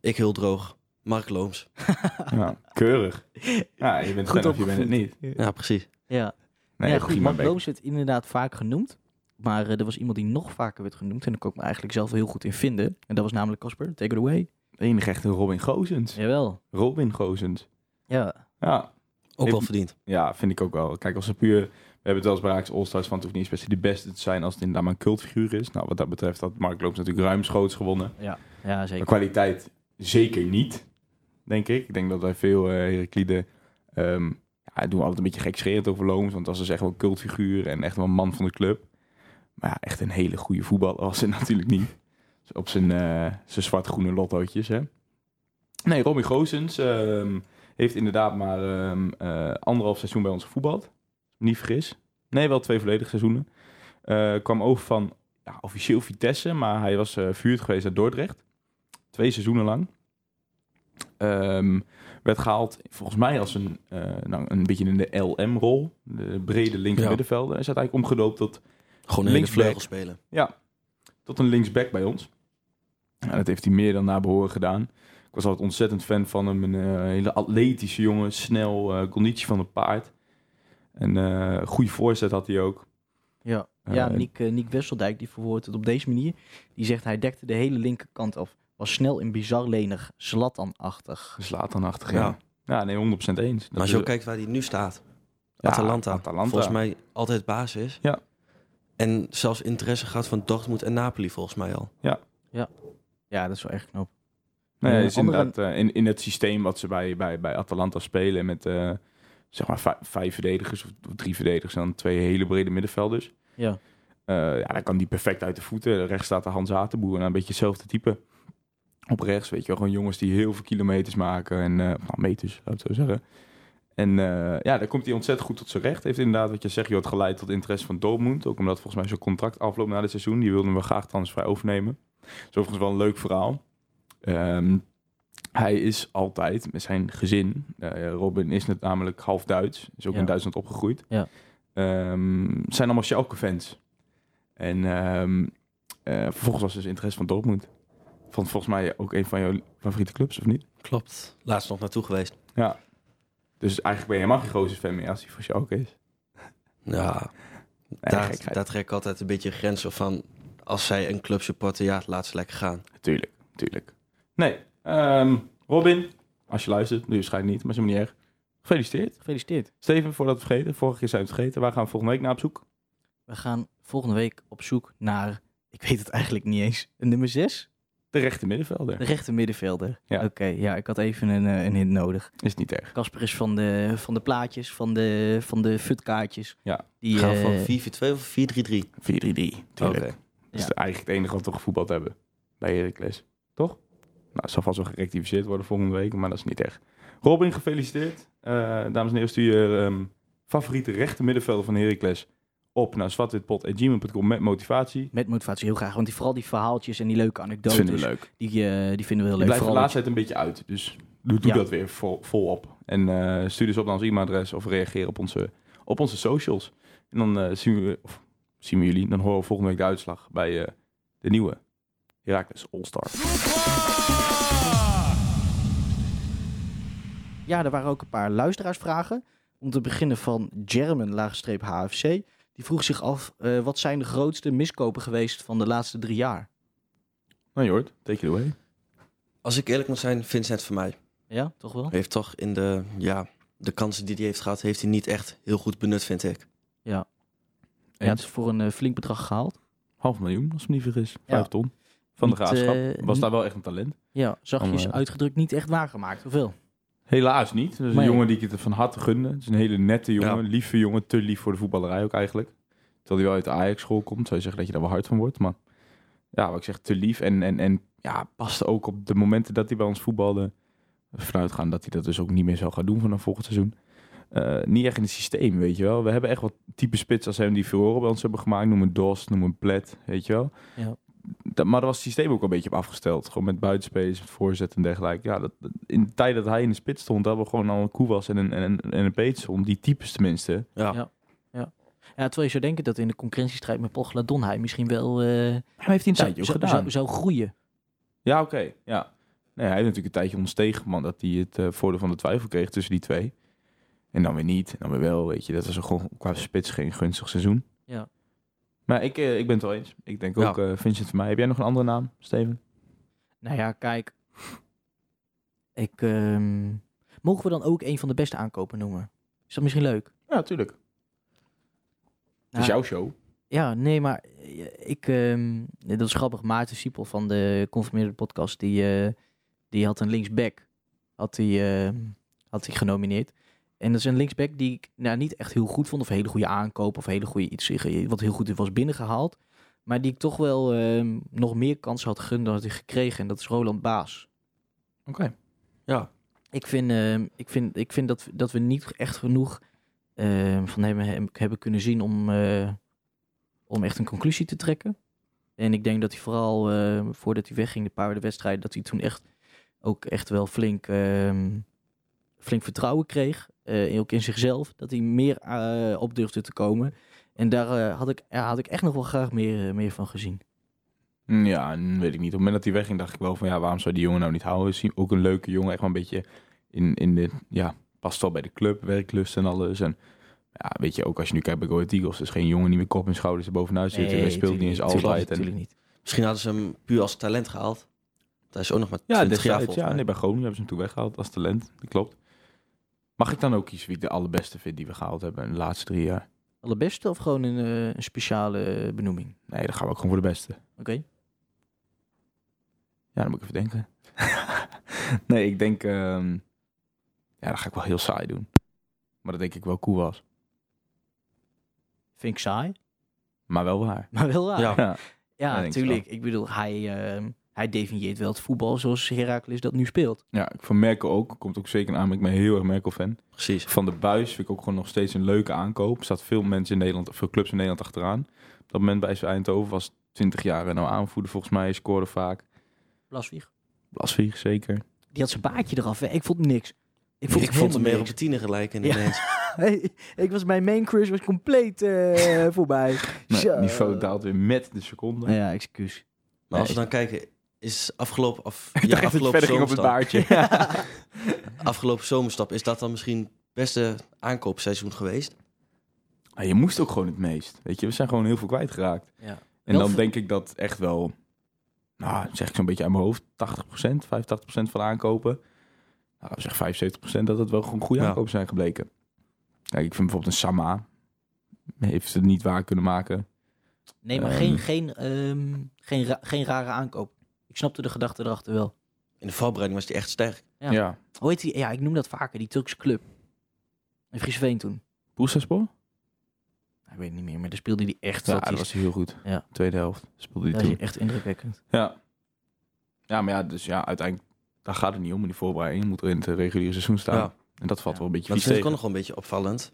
Speaker 3: Ik heel droog, Mark Looms.
Speaker 1: Ja, keurig. Ja, je bent
Speaker 2: Goed
Speaker 1: goed of je bent het niet.
Speaker 3: Ja, precies.
Speaker 2: Ja,
Speaker 1: Nee,
Speaker 2: ja goed.
Speaker 1: prima
Speaker 2: Mark
Speaker 1: Beek.
Speaker 2: Looms werd inderdaad vaak genoemd. Maar eh, er was iemand die nog vaker werd genoemd. En daar kon ik me eigenlijk zelf heel goed in vinden. En dat was namelijk Casper. Take it away.
Speaker 1: De enige echte Robin Gozens.
Speaker 2: Jawel.
Speaker 1: Robin Gozens.
Speaker 2: Ja.
Speaker 1: Ja,
Speaker 3: Ook
Speaker 1: Ik-
Speaker 3: wel verdiend.
Speaker 1: Ja, vind ik ook wel. Kijk, als ze puur... We hebben het wel eens bij Ajax All-Stars van... Het hoeft niet eens per se de beste te zijn als het inderdaad maar een cultfiguur is. Nou, wat dat betreft had Mark Loops natuurlijk ruimschoots gewonnen.
Speaker 2: Ja,
Speaker 1: Maar
Speaker 2: zeker.
Speaker 1: kwaliteit zeker niet, denk ik. Ik denk dat wij veel eh Herakliden... ehm, ja, doen we altijd een beetje gekscherend over Looms. Want dat is dus echt wel een cultfiguur en echt wel een man van de club. Maar ja, echt een hele goede voetballer was hij natuurlijk niet. Dus op zijn, eh, zijn zwart-groene lottootjes, hè. Nee, Robbie Goosens ehm, heeft inderdaad maar ehm, eh, anderhalf seizoen bij ons gevoetbald. Niet vergis. Nee, wel twee volledige seizoenen. Eh, kwam over van ja, officieel Vitesse, maar hij was eh vuurd geweest uit Dordrecht. Twee seizoenen lang. Ehm, werd gehaald volgens mij als een, eh, nou, een beetje in de LM-rol. De brede linker
Speaker 3: Ja.
Speaker 1: middenvelder. Is uiteindelijk omgedoopt tot
Speaker 3: Gewoon een hele
Speaker 1: Linksback.
Speaker 3: vleugel spelen.
Speaker 1: tot een linksback bij ons. Ja, dat heeft hij meer dan naar behoren gedaan. Ik was altijd ontzettend fan van hem. Een eh, hele atletische jongen, snel, eh, conditie van het paard. En eh goede voorzet had hij ook.
Speaker 2: Ja,
Speaker 1: Eh,
Speaker 2: ja Niek, eh, Niek Wesseldijk die verwoordt het op deze manier. Die zegt hij dekte de hele linkerkant af. Was snel en bizar lenig, Zlatan-achtig.
Speaker 1: Slaat dan achter.
Speaker 3: Ja.
Speaker 1: Ja. ja, nee, 100% eens.
Speaker 3: Maar als je ook kijkt waar hij nu staat.
Speaker 1: Ja,
Speaker 3: Atalanta.
Speaker 1: Atalanta.
Speaker 3: Volgens mij altijd basis.
Speaker 1: Ja.
Speaker 3: En zelfs interesse gehad van Dortmund en Napoli volgens mij al.
Speaker 2: Ja, dat is wel echt knap.
Speaker 1: Nee,
Speaker 2: Eh,
Speaker 1: hij is
Speaker 2: andere-
Speaker 1: inderdaad eh, in, in het systeem wat ze bij, bij, bij Atalanta spelen met eh, zeg maar vij- vijf verdedigers of drie verdedigers en dan twee hele brede middenvelders.
Speaker 2: Ja.
Speaker 1: Eh, ja, dan kan die perfect uit de voeten. Rechts staat de Hans Atenboer, nou, een beetje hetzelfde type. Op rechts, weet je wel, gewoon jongens die heel veel kilometers maken. En, eh, nou, meters, zou ik het zo zeggen. En eh, ja, daar komt hij ontzettend goed tot zijn recht. Heeft inderdaad, wat je zegt, joh, het geleid tot interesse van Dortmund. Ook omdat volgens mij zijn contract afloopt na dit seizoen. Die wilden we graag transvrij overnemen. Dat is overigens wel een leuk verhaal. Ehm, hij is altijd met zijn gezin. eh, Robin is net namelijk half Duits. Is ook
Speaker 2: Ja.
Speaker 1: in Duitsland opgegroeid.
Speaker 2: Ja.
Speaker 1: Ehm, zijn allemaal Schalke-fans. En ehm, eh, vervolgens was dus interesse van Dortmund. Van volgens mij ook een van jouw favoriete clubs, of niet?
Speaker 3: Klopt. Laatst nog naartoe geweest.
Speaker 1: Dus eigenlijk ben je helemaal geen Gozes fan meer als hij voor Schalke is.
Speaker 3: Ja,
Speaker 1: Nee,
Speaker 3: daar,
Speaker 1: gekheid.
Speaker 3: daar trek ik altijd een beetje grenzen van. Als zij een club supporten, ja, laat ze lekker gaan.
Speaker 1: Tuurlijk, tuurlijk. Nee, ehm, Robin, als je luistert, nu waarschijnlijk niet, maar is helemaal niet erg. Gefeliciteerd.
Speaker 2: Gefeliciteerd.
Speaker 1: Steven, voordat we het vergeten, vorige keer zijn we het vergeten. Waar gaan we volgende week naar op zoek?
Speaker 2: We gaan volgende week op zoek naar, ik weet het eigenlijk niet eens, een nummer 6?
Speaker 1: De rechte middenvelder.
Speaker 2: De rechter middenvelder.
Speaker 1: Ja.
Speaker 2: Oké, ja, ik had even een, eh, een hint nodig.
Speaker 1: Is niet erg.
Speaker 2: Casper is van de, van de plaatjes, van de, van de futkaartjes.
Speaker 1: Ja.
Speaker 2: Die,
Speaker 3: Gaan we
Speaker 2: eh,
Speaker 3: van 4-4-2 of 4-3-3?
Speaker 1: 4-3-3, tuurlijk.
Speaker 3: Oké.
Speaker 1: Dat is
Speaker 2: Ja.
Speaker 1: eigenlijk het enige wat we gevoetbald hebben bij Heracles. Toch? Nou, het zal vast wel gerectificeerd worden volgende week, maar dat is niet echt. Robin, gefeliciteerd. Eh, dames en heren, stuur je ehm, favoriete rechte middenvelder van Heracles op naar zwartwitpot.gmail.com met motivatie.
Speaker 2: met motivatie heel graag, want die, vooral die verhaaltjes en die leuke
Speaker 1: Dat
Speaker 2: anekdotes,
Speaker 1: vinden we leuk.
Speaker 2: Die, eh, die vinden we heel
Speaker 1: Het
Speaker 2: leuk.
Speaker 1: blijft de
Speaker 2: Vooral
Speaker 1: laatste tijd een beetje uit, dus doe, doe
Speaker 2: Ja.
Speaker 1: dat weer vol, volop. En eh, stuur dus op naar ons e-mailadres of reageer op onze, op onze socials. En dan eh, zien, we, of, zien we jullie, dan horen we volgende week de uitslag bij eh, de nieuwe Heracles All-Star.
Speaker 2: Ja, er waren ook een paar luisteraarsvragen. Om te beginnen van German, laagstreep HFC. Die vroeg zich af, eh, wat zijn de grootste miskopen geweest van de laatste drie jaar?
Speaker 1: Nou Jord, take it away.
Speaker 3: Als ik eerlijk moet zijn, Vincent van mij
Speaker 2: Ja, toch
Speaker 1: E-
Speaker 2: wel?
Speaker 3: heeft toch in de, ja, de kansen die hij heeft gehad, heeft hij niet echt heel goed benut, vind ik.
Speaker 2: Ja, het is voor een eh, flink bedrag gehaald.
Speaker 1: Half miljoen, als ik me niet vergis.
Speaker 2: Ja.
Speaker 1: Vijf ton. Van de
Speaker 2: Niet,
Speaker 1: graafschap.
Speaker 2: eh,
Speaker 1: Was daar wel echt een talent?
Speaker 2: Ja, zachtjes
Speaker 1: Oh, eh.
Speaker 2: uitgedrukt, niet echt waargemaakt. Hoeveel?
Speaker 1: Helaas niet. Dat is
Speaker 2: Maar
Speaker 1: een
Speaker 2: ja.
Speaker 1: jongen die ik het van harte gunde. Het is een hele nette jongen. Lieve jongen. Te lief voor de voetballerij ook eigenlijk. Terwijl hij wel uit de Ajax-school komt. Zou je zeggen dat je daar wel hard van wordt. Maar ja, wat ik zeg, te lief. En, en, en ja, paste ook op de momenten dat hij bij ons voetbalde. vanuit gaan dat hij dat dus ook niet meer zou gaan doen vanaf volgend seizoen. Eh, niet echt in het systeem, weet je wel. We hebben echt wat type spits als hem die verloren bij ons hebben gemaakt. Noem een Dos, noem een Plet, weet je wel.
Speaker 2: Ja.
Speaker 1: Dat, maar daar was het systeem ook wel een beetje op afgesteld. Gewoon met buitenspace, met voorzet en dergelijke. Ja, dat, dat- in de tijd dat hij in de spits stond, hadden we gewoon al een Koewas en een, en, een- en een Peterson. Die types tenminste.
Speaker 3: Ja.
Speaker 2: Ja. Ja, terwijl je zou denken dat in de concurrentiestrijd met Pogladon hij misschien wel eh,
Speaker 1: Maar heeft hij een
Speaker 2: zou,
Speaker 1: tijdje ook
Speaker 2: zou,
Speaker 1: gedaan.
Speaker 2: zou, zou groeien.
Speaker 1: Ja, oké. Ja. Nee, hij heeft natuurlijk een tijdje ons tegen, man, dat hij het eh, voordeel van de twijfel kreeg tussen die twee. En dan weer niet, en dan weer wel, weet je. Dat was gewoon qua spits geen gunstig seizoen.
Speaker 2: Ja.
Speaker 1: Maar ik, eh, ik ben het wel eens. Ik denk
Speaker 3: Ja.
Speaker 1: ook, eh Vincent van mij. Heb jij nog een andere naam, Steven?
Speaker 2: Nou ja, kijk. Ik, ehm, mogen we dan ook een van de beste aankopen noemen? Is dat misschien leuk?
Speaker 1: Ja, tuurlijk. Het
Speaker 2: Nou,
Speaker 1: is jouw show.
Speaker 2: Ja, nee, maar eh, ik, ehm, dat is grappig. Maarten Siepel van de Conformeerde Podcast, die, eh, die had een linksback had hij ehm, had hij genomineerd. En dat is een linksback die ik nou, niet echt heel goed vond, of een hele goede aankoop, of een hele goede iets eh, wat heel goed was binnengehaald. Maar die ik toch wel ehm, nog meer kansen had gegund dan had hij gekregen. En dat is Roland Baas.
Speaker 1: Oké.
Speaker 3: Ja.
Speaker 2: Ik vind, ehm, ik vind, ik vind dat, dat we niet echt genoeg ehm, van hem, hem hebben kunnen zien om, eh, om echt een conclusie te trekken. En ik denk dat hij vooral, ehm, voordat hij wegging, de paar wedstrijden, dat hij toen echt ook echt wel flink, ehm, flink vertrouwen kreeg. eh, ook in zichzelf. Dat hij meer eh, op durfde te komen. En daar eh, had, ik, ja, had ik echt nog wel graag meer, eh, meer van gezien.
Speaker 1: Ja, mm, weet ik niet. Op het moment dat hij wegging, dacht ik wel van ja, waarom zou die jongen nou niet houden? Is hij ook een leuke jongen, echt wel een beetje in, in de, ja, past wel bij de club, werklust en alles. En ja, weet je, ook als je nu kijkt bij Go Ahead Eagles, is geen jongen die met kop en schouders er bovenuit zit. hij speelt niet eens altijd. En,
Speaker 2: Natuurlijk niet.
Speaker 3: Misschien hadden ze hem puur als talent gehaald. Hij is ook nog maar
Speaker 1: ja,
Speaker 3: 20 jaar
Speaker 1: destijds,
Speaker 3: volgens
Speaker 1: ja,
Speaker 3: mij.
Speaker 1: nee, bij Groningen hebben ze hem toen weggehaald als talent. Dat klopt. Mag ik dan ook kiezen wie ik de allerbeste vind die we gehaald hebben in de laatste drie jaar?
Speaker 2: Allerbeste of gewoon een, eh, een speciale eh, benoeming?
Speaker 1: Nee, dan gaan we ook gewoon voor de beste.
Speaker 2: Oké.
Speaker 1: Ja, dan moet ik even denken. nee, ik denk... ehm, ja, dat ga ik wel heel saai doen. Maar dat denk ik wel cool was.
Speaker 2: Vind ik saai,
Speaker 1: Maar wel waar.
Speaker 2: maar wel waar.
Speaker 3: Ja.
Speaker 2: Ja,
Speaker 1: Ja. Ja, denk ik
Speaker 2: natuurlijk. Ik bedoel, hij, eh, hij definieert wel het voetbal zoals Heracles dat nu speelt.
Speaker 1: ja, ik van Merkel ook. Komt ook zeker aan. maar Ik ben heel erg Merkel-fan.
Speaker 3: Precies.
Speaker 1: Van de Buis vind ik ook gewoon nog steeds een leuke aankoop. Er staat veel mensen in Nederland, veel clubs in Nederland achteraan. Op dat moment bij zijn Eindhoven was 20 jaar en nou aanvoerder volgens mij. Scoorde vaak.
Speaker 2: Blaswieg.
Speaker 1: Blasvlieg zeker.
Speaker 2: Die had zijn baardje eraf. Hè. Ik vond niks. Ik vond,
Speaker 3: Ik vond hem meer
Speaker 2: helemaal
Speaker 3: op de tiener gelijk in
Speaker 2: Ja.
Speaker 3: ineens.
Speaker 2: niks. ik was, mijn main crush was compleet eh, voorbij.
Speaker 1: Nee,
Speaker 2: Zo.
Speaker 1: niveau daalt weer met de seconde.
Speaker 2: Ja, excuus.
Speaker 3: Maar als we
Speaker 1: Nee.
Speaker 3: dan kijken, is afgelopen, af,
Speaker 1: Ik
Speaker 3: ja,
Speaker 1: dacht dat het
Speaker 3: afgelopen,
Speaker 1: verder ging op het
Speaker 3: zomerstap,
Speaker 1: baardje.
Speaker 3: afgelopen zomerstap, is dat dan misschien het beste aankoopseizoen geweest?
Speaker 1: Ah, je moest ook gewoon het meest. Weet je, we zijn gewoon heel veel kwijtgeraakt.
Speaker 2: Ja.
Speaker 1: En
Speaker 2: Wel
Speaker 1: dan
Speaker 2: v-
Speaker 1: denk ik dat echt wel, nou zeg ik zo'n beetje uit mijn hoofd, 80%, 85% van de aankopen. Nou, zeg 75% dat het wel gewoon goede
Speaker 3: Ja.
Speaker 1: aankopen zijn gebleken. Kijk, ik vind bijvoorbeeld een Sama, heeft ze het niet waar kunnen maken.
Speaker 2: Nee, maar
Speaker 1: Ehm.
Speaker 2: geen, geen, ehm, geen, ra- geen rare aankoop. Ik snapte de gedachte erachter wel.
Speaker 3: In de voorbereiding was hij echt sterk.
Speaker 1: Ja.
Speaker 2: Ja.
Speaker 1: ja.
Speaker 2: Hoe heet die? Ja, ik noem dat vaker. Die Turkse club. In Friesveen toen.
Speaker 1: Boersaspoor?
Speaker 2: Ik weet het niet meer, maar daar speelde hij echt.
Speaker 1: Ja,
Speaker 2: dat
Speaker 1: dat
Speaker 2: is-
Speaker 1: was hij heel goed.
Speaker 2: Ja.
Speaker 1: Tweede helft speelde hij
Speaker 2: dat is
Speaker 1: toen.
Speaker 2: echt indrukwekkend.
Speaker 1: Ja. ja, maar ja, dus ja, uiteindelijk, daar gaat het niet om in die voorbereiding. Je moet er in het reguliere seizoen staan.
Speaker 3: Ja.
Speaker 1: En dat valt
Speaker 2: Ja.
Speaker 1: wel een beetje
Speaker 3: Dat
Speaker 1: vies
Speaker 3: vind ik
Speaker 1: tegen.
Speaker 3: ook nog wel een beetje opvallend.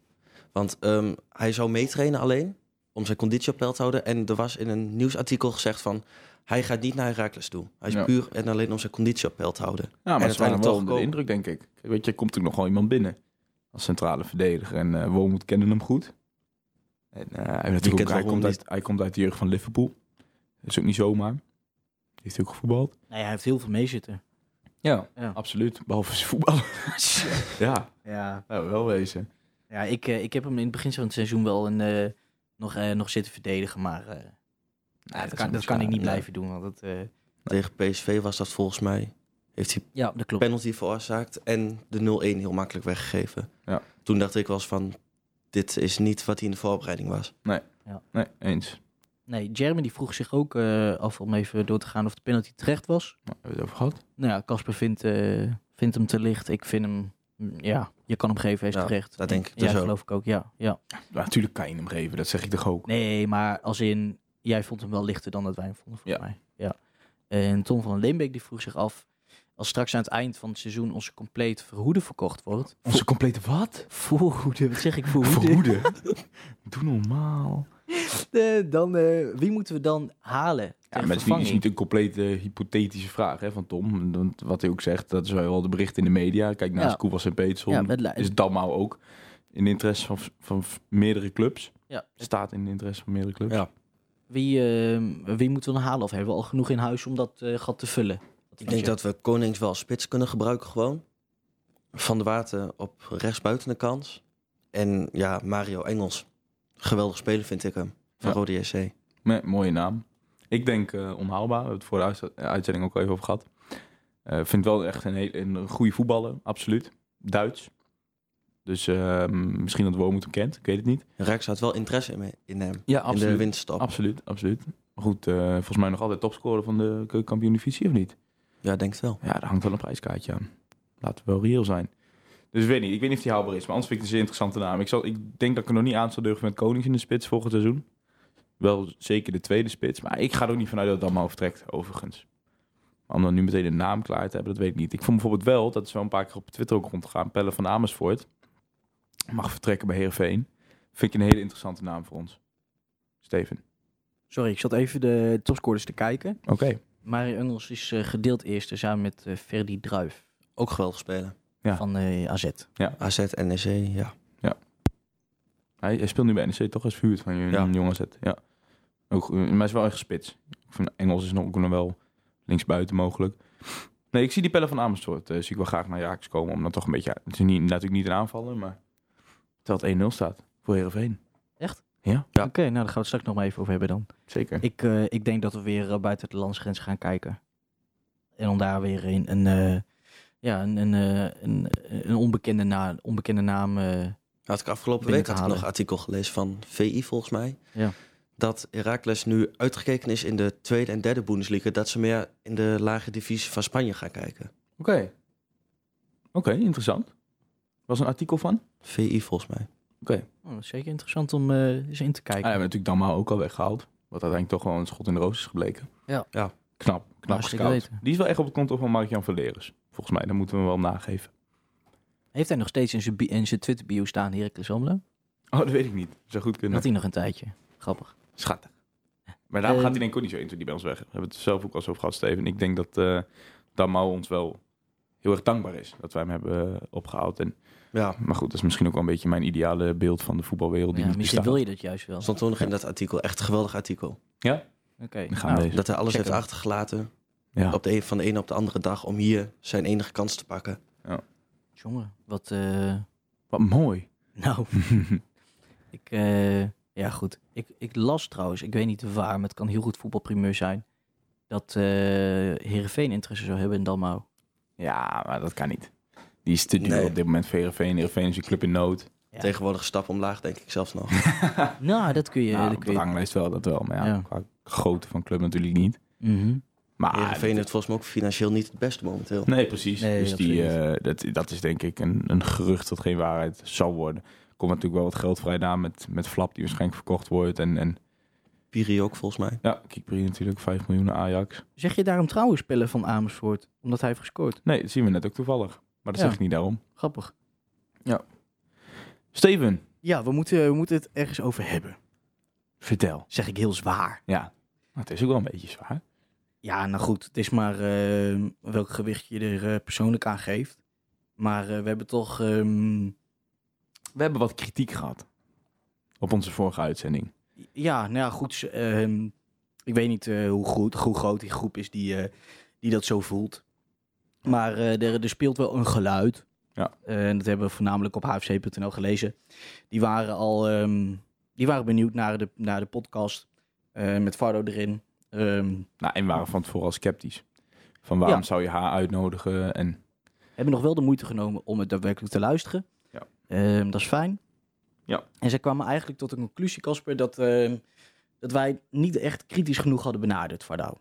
Speaker 3: Want ehm, hij zou meetrainen alleen, om zijn conditie op peil te houden. En er was in een nieuwsartikel gezegd van, hij gaat niet naar Herakles toe. Hij is
Speaker 1: Ja.
Speaker 3: puur en alleen om zijn conditie op peil te houden.
Speaker 1: Ja, maar
Speaker 3: En
Speaker 1: ze waren
Speaker 3: uiteindelijk
Speaker 1: wel
Speaker 3: toch
Speaker 1: onder de
Speaker 3: komen.
Speaker 1: indruk, denk ik. Kijk, Weet je, er komt natuurlijk nog wel iemand binnen als centrale verdediger. En eh Wormoed kende hem goed. En, eh, hij, heeft natuurlijk
Speaker 3: kent
Speaker 1: ook, hij,
Speaker 3: Wormoed
Speaker 1: komt uit, hij komt uit de jeugd van Liverpool. Dat is ook niet zomaar. Heeft hij ook gevoetbald?
Speaker 2: Nee, hij heeft heel veel meezitten.
Speaker 1: Ja.
Speaker 2: Ja.
Speaker 1: Absoluut, behalve zijn voetbal. ja,
Speaker 2: Ja,
Speaker 1: nou, wel wezen.
Speaker 2: ja ik, eh, ik heb hem in het begin van het seizoen wel een, eh, nog, eh, nog zitten verdedigen, maar eh, dat, kan, dat kan ik niet
Speaker 3: nee.
Speaker 2: blijven doen. Want dat, eh,
Speaker 3: Tegen PSV was dat volgens mij. Heeft hij
Speaker 2: ja, dat klopt.
Speaker 3: penalty veroorzaakt en de 0-1 heel makkelijk weggegeven.
Speaker 1: Ja.
Speaker 3: Toen dacht ik wel eens van, dit is niet wat hij in de voorbereiding was.
Speaker 1: Nee, eens.
Speaker 2: Nee, Jeremy die vroeg zich ook eh, af om even door te gaan of de penalty terecht was.
Speaker 1: Nou, hebben we het over gehad?
Speaker 2: Nou ja, Casper vindt, eh, vindt hem te licht. Ik vind hem, mm, ja, je kan hem geven, hij is
Speaker 3: Ja,
Speaker 2: terecht.
Speaker 3: dat denk ik
Speaker 2: ja,
Speaker 3: dus ook.
Speaker 2: geloof ik ook, ja, ja.
Speaker 1: Maar natuurlijk kan je hem geven, dat zeg ik toch ook.
Speaker 2: Nee, maar als in, jij vond hem wel lichter dan dat wij hem vonden, volgens
Speaker 1: Ja.
Speaker 2: mij. Ja. En Tom van Leembeek die vroeg zich af Als straks aan het eind van het seizoen onze complete verhoede verkocht wordt.
Speaker 1: Onze complete wat?
Speaker 2: Voorhoede, wat zeg ik voorhoede?
Speaker 1: Verhoede. Doe normaal.
Speaker 2: Eh, dan, eh, wie moeten we dan halen?
Speaker 1: Ja, maar
Speaker 2: ter
Speaker 1: het is niet- is
Speaker 2: vervanging?
Speaker 1: niet een complete hypothetische vraag hè, van Tom. Want wat hij ook zegt, dat is wel de bericht in de media. Kijk, naast
Speaker 2: Ja.
Speaker 1: Koewas en Peetson
Speaker 2: Ja, met Leiden.
Speaker 1: is Damau ook in de interesse van, van meerdere clubs.
Speaker 2: Ja.
Speaker 1: Staat in de interesse van meerdere clubs.
Speaker 3: Ja.
Speaker 2: Wie, eh, wie moeten we dan halen? Of hebben we al genoeg in huis om dat eh, gat te vullen?
Speaker 3: Ik denk dat we Konings wel als spits kunnen gebruiken gewoon. Van de Water op rechtsbuiten de kans. En ja, Mario Engels. Geweldig speler vind ik hem. Van
Speaker 1: Ja.
Speaker 3: Rode JC.
Speaker 1: Met mooie naam. Ik denk eh, onhaalbaar. We hebben het voor de uitz- uitzending ook al even over gehad. Eh vind wel echt een, heel, een goede voetballer, absoluut. Duits. Dus ehm, misschien dat Woon hem kent, ik weet het niet.
Speaker 3: Rax had wel interesse in, me- in hem.
Speaker 1: Ja,
Speaker 3: In de winststop.
Speaker 1: Absoluut, absoluut. Maar goed, eh, volgens mij nog altijd topscorer van de keukenkampioen divisie, of niet?
Speaker 3: Ja, denk het wel.
Speaker 1: Ja, daar hangt wel een prijskaartje aan. Laten we wel reëel zijn. Dus ik weet niet, ik weet niet of die haalbaar is, maar anders vind ik het een zeer interessante naam. Ik, zal, ik denk dat ik er nog niet aan zal durven met Konings in de spits volgend seizoen. Wel zeker de tweede spits, maar ik ga er ook niet vanuit dat het allemaal vertrekt, overigens. Maar om dan nu meteen een naam klaar te hebben, dat weet ik niet. Ik vond bijvoorbeeld wel, dat is wel een paar keer op Twitter ook rondgegaan, Pelle van Amersfoort mag vertrekken bij Heerenveen. Vind ik een hele interessante naam voor ons. Steven.
Speaker 2: Sorry, ik zat even de topscorers te kijken.
Speaker 1: Oké.
Speaker 2: Mario Engels is eh, gedeeld eerste samen met eh Ferdi Druif
Speaker 3: Ook geweldig spelen.
Speaker 1: Ja.
Speaker 2: van eh, AZ.
Speaker 3: AZ, NEC, E ja.
Speaker 1: Hij, hij speelt nu bij NEC toch als vuurt van
Speaker 3: Ja.
Speaker 1: een jongen zet. Ja. Ook, eh, maar hij is wel echt spits. Ik vind Engels is nog, ook nog wel linksbuiten mogelijk. Nee, ik zie die pellen van Amersfoort. eh, zie ik wel graag naar Jaaks komen. Om dan toch een beetje... Het is niet, natuurlijk niet een aanvaller, maar... Terwijl het 1-0 staat voor Heerenveen.
Speaker 2: Oké, nou daar gaan we het straks nog maar even over hebben dan.
Speaker 1: Zeker.
Speaker 2: Ik, eh, ik denk dat we weer eh, buiten de landsgrens gaan kijken. En om daar weer een, een, eh, ja, een, een, eh, een, een onbekende, na, onbekende naam. eh,
Speaker 3: Had ik afgelopen
Speaker 2: Binnen
Speaker 3: week
Speaker 2: te
Speaker 3: had ik nog
Speaker 2: halen.
Speaker 3: een artikel gelezen van VI volgens mij.
Speaker 2: Ja.
Speaker 3: Dat Heracles nu uitgekeken is in de tweede en derde Bundesliga. Dat ze meer in de lage divisie van Spanje gaan kijken.
Speaker 1: Oké. Oké, interessant. Was een artikel van? Ah,
Speaker 3: VI volgens mij.
Speaker 2: oh, dat is zeker interessant om eh, eens in te
Speaker 1: Ah, ja, we
Speaker 2: kijken.
Speaker 1: hebben natuurlijk Damma ook al weggehaald. Wat uiteindelijk toch wel een schot in de roos is gebleken.
Speaker 2: Ja.
Speaker 3: Ja.
Speaker 1: Knap. Knap
Speaker 2: Hartstikke
Speaker 1: gescout.
Speaker 2: weten.
Speaker 1: Die is wel echt op het konto van Mark-Jan Verlerens. Volgens mij, dat moeten we hem wel nageven.
Speaker 2: Heeft hij nog steeds in zijn bi- in zijn Twitter-bio staan, Heracles Almelo?
Speaker 1: Oh, dat weet ik niet. Zou goed kunnen.
Speaker 2: Had hij nog een tijdje. Grappig.
Speaker 1: Schattig. Maar daarom
Speaker 2: Eh,
Speaker 1: gaat hij denk ik ook niet zo 1, 2, die bij ons weg. We hebben het zelf ook al zo over gehad, Steven. Ik denk dat eh Damau ons wel heel erg dankbaar is dat wij hem hebben eh, opgehaald. En,
Speaker 3: Ja,
Speaker 1: maar goed, dat is misschien ook wel een beetje mijn ideale beeld van de voetbalwereld. Die
Speaker 2: Ja,
Speaker 1: niet
Speaker 2: misschien
Speaker 1: bestaat.
Speaker 2: wil je dat juist wel. Oké.
Speaker 3: stond toen nog in dat artikel. Echt een geweldig artikel.
Speaker 1: Dan gaan
Speaker 2: nou,
Speaker 1: we deze.
Speaker 3: Dat hij alles
Speaker 2: Check
Speaker 3: heeft
Speaker 2: hem.
Speaker 3: achtergelaten
Speaker 1: Ja.
Speaker 3: op de een, van de ene op de andere dag om hier zijn enige kans te pakken.
Speaker 2: jongen, wat... eh,
Speaker 1: Wat mooi.
Speaker 2: nou, ik... eh, ja, goed. Ik, ik las trouwens, ik weet niet waar, maar het kan heel goed voetbalprimeur zijn... dat eh Heerenveen interesse zou hebben in Dalmau.
Speaker 1: Ja, maar dat kan niet. Die is te duur
Speaker 3: Nee.
Speaker 1: op dit moment voor Heerenveen. Heerenveen is een club in nood.
Speaker 2: Ja.
Speaker 3: Tegenwoordig stap omlaag, denk ik zelfs nog.
Speaker 2: Nou, dat kun je...
Speaker 1: nou,
Speaker 2: dat
Speaker 1: op
Speaker 2: kun
Speaker 1: de
Speaker 2: je
Speaker 1: ranglijst wel, dat wel. Maar ja,
Speaker 2: Ja.
Speaker 1: qua grootte van club natuurlijk niet.
Speaker 2: Mhm.
Speaker 1: Maar
Speaker 3: Heerenveen heeft volgens mij ook financieel niet het beste momenteel.
Speaker 1: Nee, precies.
Speaker 2: Nee,
Speaker 1: dus
Speaker 2: dat
Speaker 1: die,
Speaker 2: vind ik
Speaker 1: eh, dat, dat is denk ik een, een gerucht dat geen waarheid zal worden. Er komt natuurlijk wel wat geld vrij na met, met Flap, die waarschijnlijk verkocht wordt. En, en
Speaker 3: Piri ook volgens mij.
Speaker 1: ja, Kikperi natuurlijk, 5 miljoen Ajax.
Speaker 2: Zeg je daarom trouwens Pelle van Amersfoort? Omdat hij heeft gescoord.
Speaker 1: Nee, dat zien we net ook toevallig. Maar dat
Speaker 2: Ja.
Speaker 1: zeg ik niet daarom.
Speaker 2: Grappig.
Speaker 1: Steven,
Speaker 2: Ja, we moeten, we moeten het ergens over hebben.
Speaker 1: vertel.
Speaker 2: Zeg ik heel zwaar.
Speaker 1: Ja, Nou, het is ook wel een beetje zwaar.
Speaker 2: Ja, nou goed, het is maar eh, welk gewicht je er eh, persoonlijk aan geeft. Maar eh, we hebben toch. ehm,
Speaker 1: We hebben wat kritiek gehad op onze vorige uitzending.
Speaker 2: ja, nou ja, goed. ze- ehm, ik weet niet eh, hoe, goed, hoe groot die groep is die, eh, die dat zo voelt. Maar eh, er, er speelt wel een geluid.
Speaker 1: Ja.
Speaker 2: Eh, en dat hebben we voornamelijk op hfc.nl gelezen. Die waren al ehm, die waren benieuwd naar de, naar de podcast eh, met Fardo erin. Ehm,
Speaker 1: Nou, en we waren van tevoren al sceptisch. Van waarom
Speaker 2: Ja.
Speaker 1: zou je haar uitnodigen? En
Speaker 2: hebben nog wel de moeite genomen om het daadwerkelijk te luisteren.
Speaker 1: Ja.
Speaker 2: Ehm, dat is fijn.
Speaker 1: Ja.
Speaker 2: En zij kwamen eigenlijk tot de conclusie, Casper, dat, ehm, dat wij niet echt kritisch genoeg hadden benaderd Vardouw.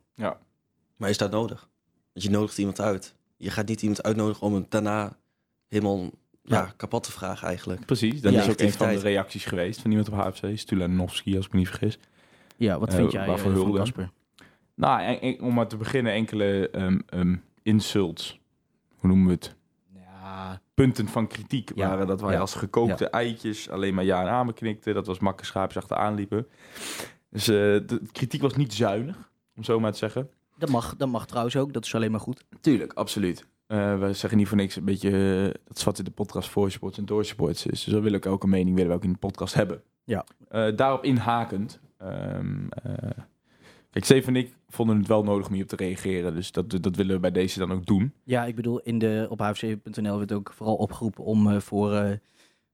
Speaker 3: Maar is dat nodig? Want je nodigt iemand uit. Je gaat niet iemand uitnodigen om hem daarna helemaal ja.
Speaker 1: Ja.
Speaker 3: kapot te vragen eigenlijk.
Speaker 1: precies, dat
Speaker 3: Ja,
Speaker 1: is ook een van de
Speaker 3: activiteit.
Speaker 1: reacties geweest van iemand op HFC. Stulanovski, als ik me niet vergis.
Speaker 2: Ja, wat
Speaker 1: Eh,
Speaker 2: vind jij eh,
Speaker 1: waarvoor
Speaker 2: van
Speaker 1: hulde?
Speaker 2: Casper?
Speaker 1: Nou, en, en- om maar te beginnen enkele ehm, ehm, insults hoe noemen we het,
Speaker 2: Ja,
Speaker 1: punten van kritiek
Speaker 2: Ja,
Speaker 1: waren dat wij
Speaker 2: ja,
Speaker 1: als gekookte eitjes alleen maar ja en amen knikten. Dat was makke schaapjes achteraan liepen. Dus eh, de kritiek was niet zuinig, om zo maar te zeggen.
Speaker 2: dat mag, dat mag trouwens ook. Dat is alleen maar goed.
Speaker 1: Tuurlijk, absoluut. Eh, we zeggen niet voor niks een beetje eh, dat zwart in de podcast voor sports en door sports is. Dus we willen ook elke mening willen we ook in de podcast hebben.
Speaker 2: Ja.
Speaker 1: Eh, daarop inhakend. ehm, eh, kijk, Steven en ik vonden het wel nodig om hierop te reageren. Dus dat, dat willen we bij deze dan ook doen.
Speaker 2: Ja, ik bedoel, in de, op hfc.nl werd ook vooral opgeroepen om eh, voor eh,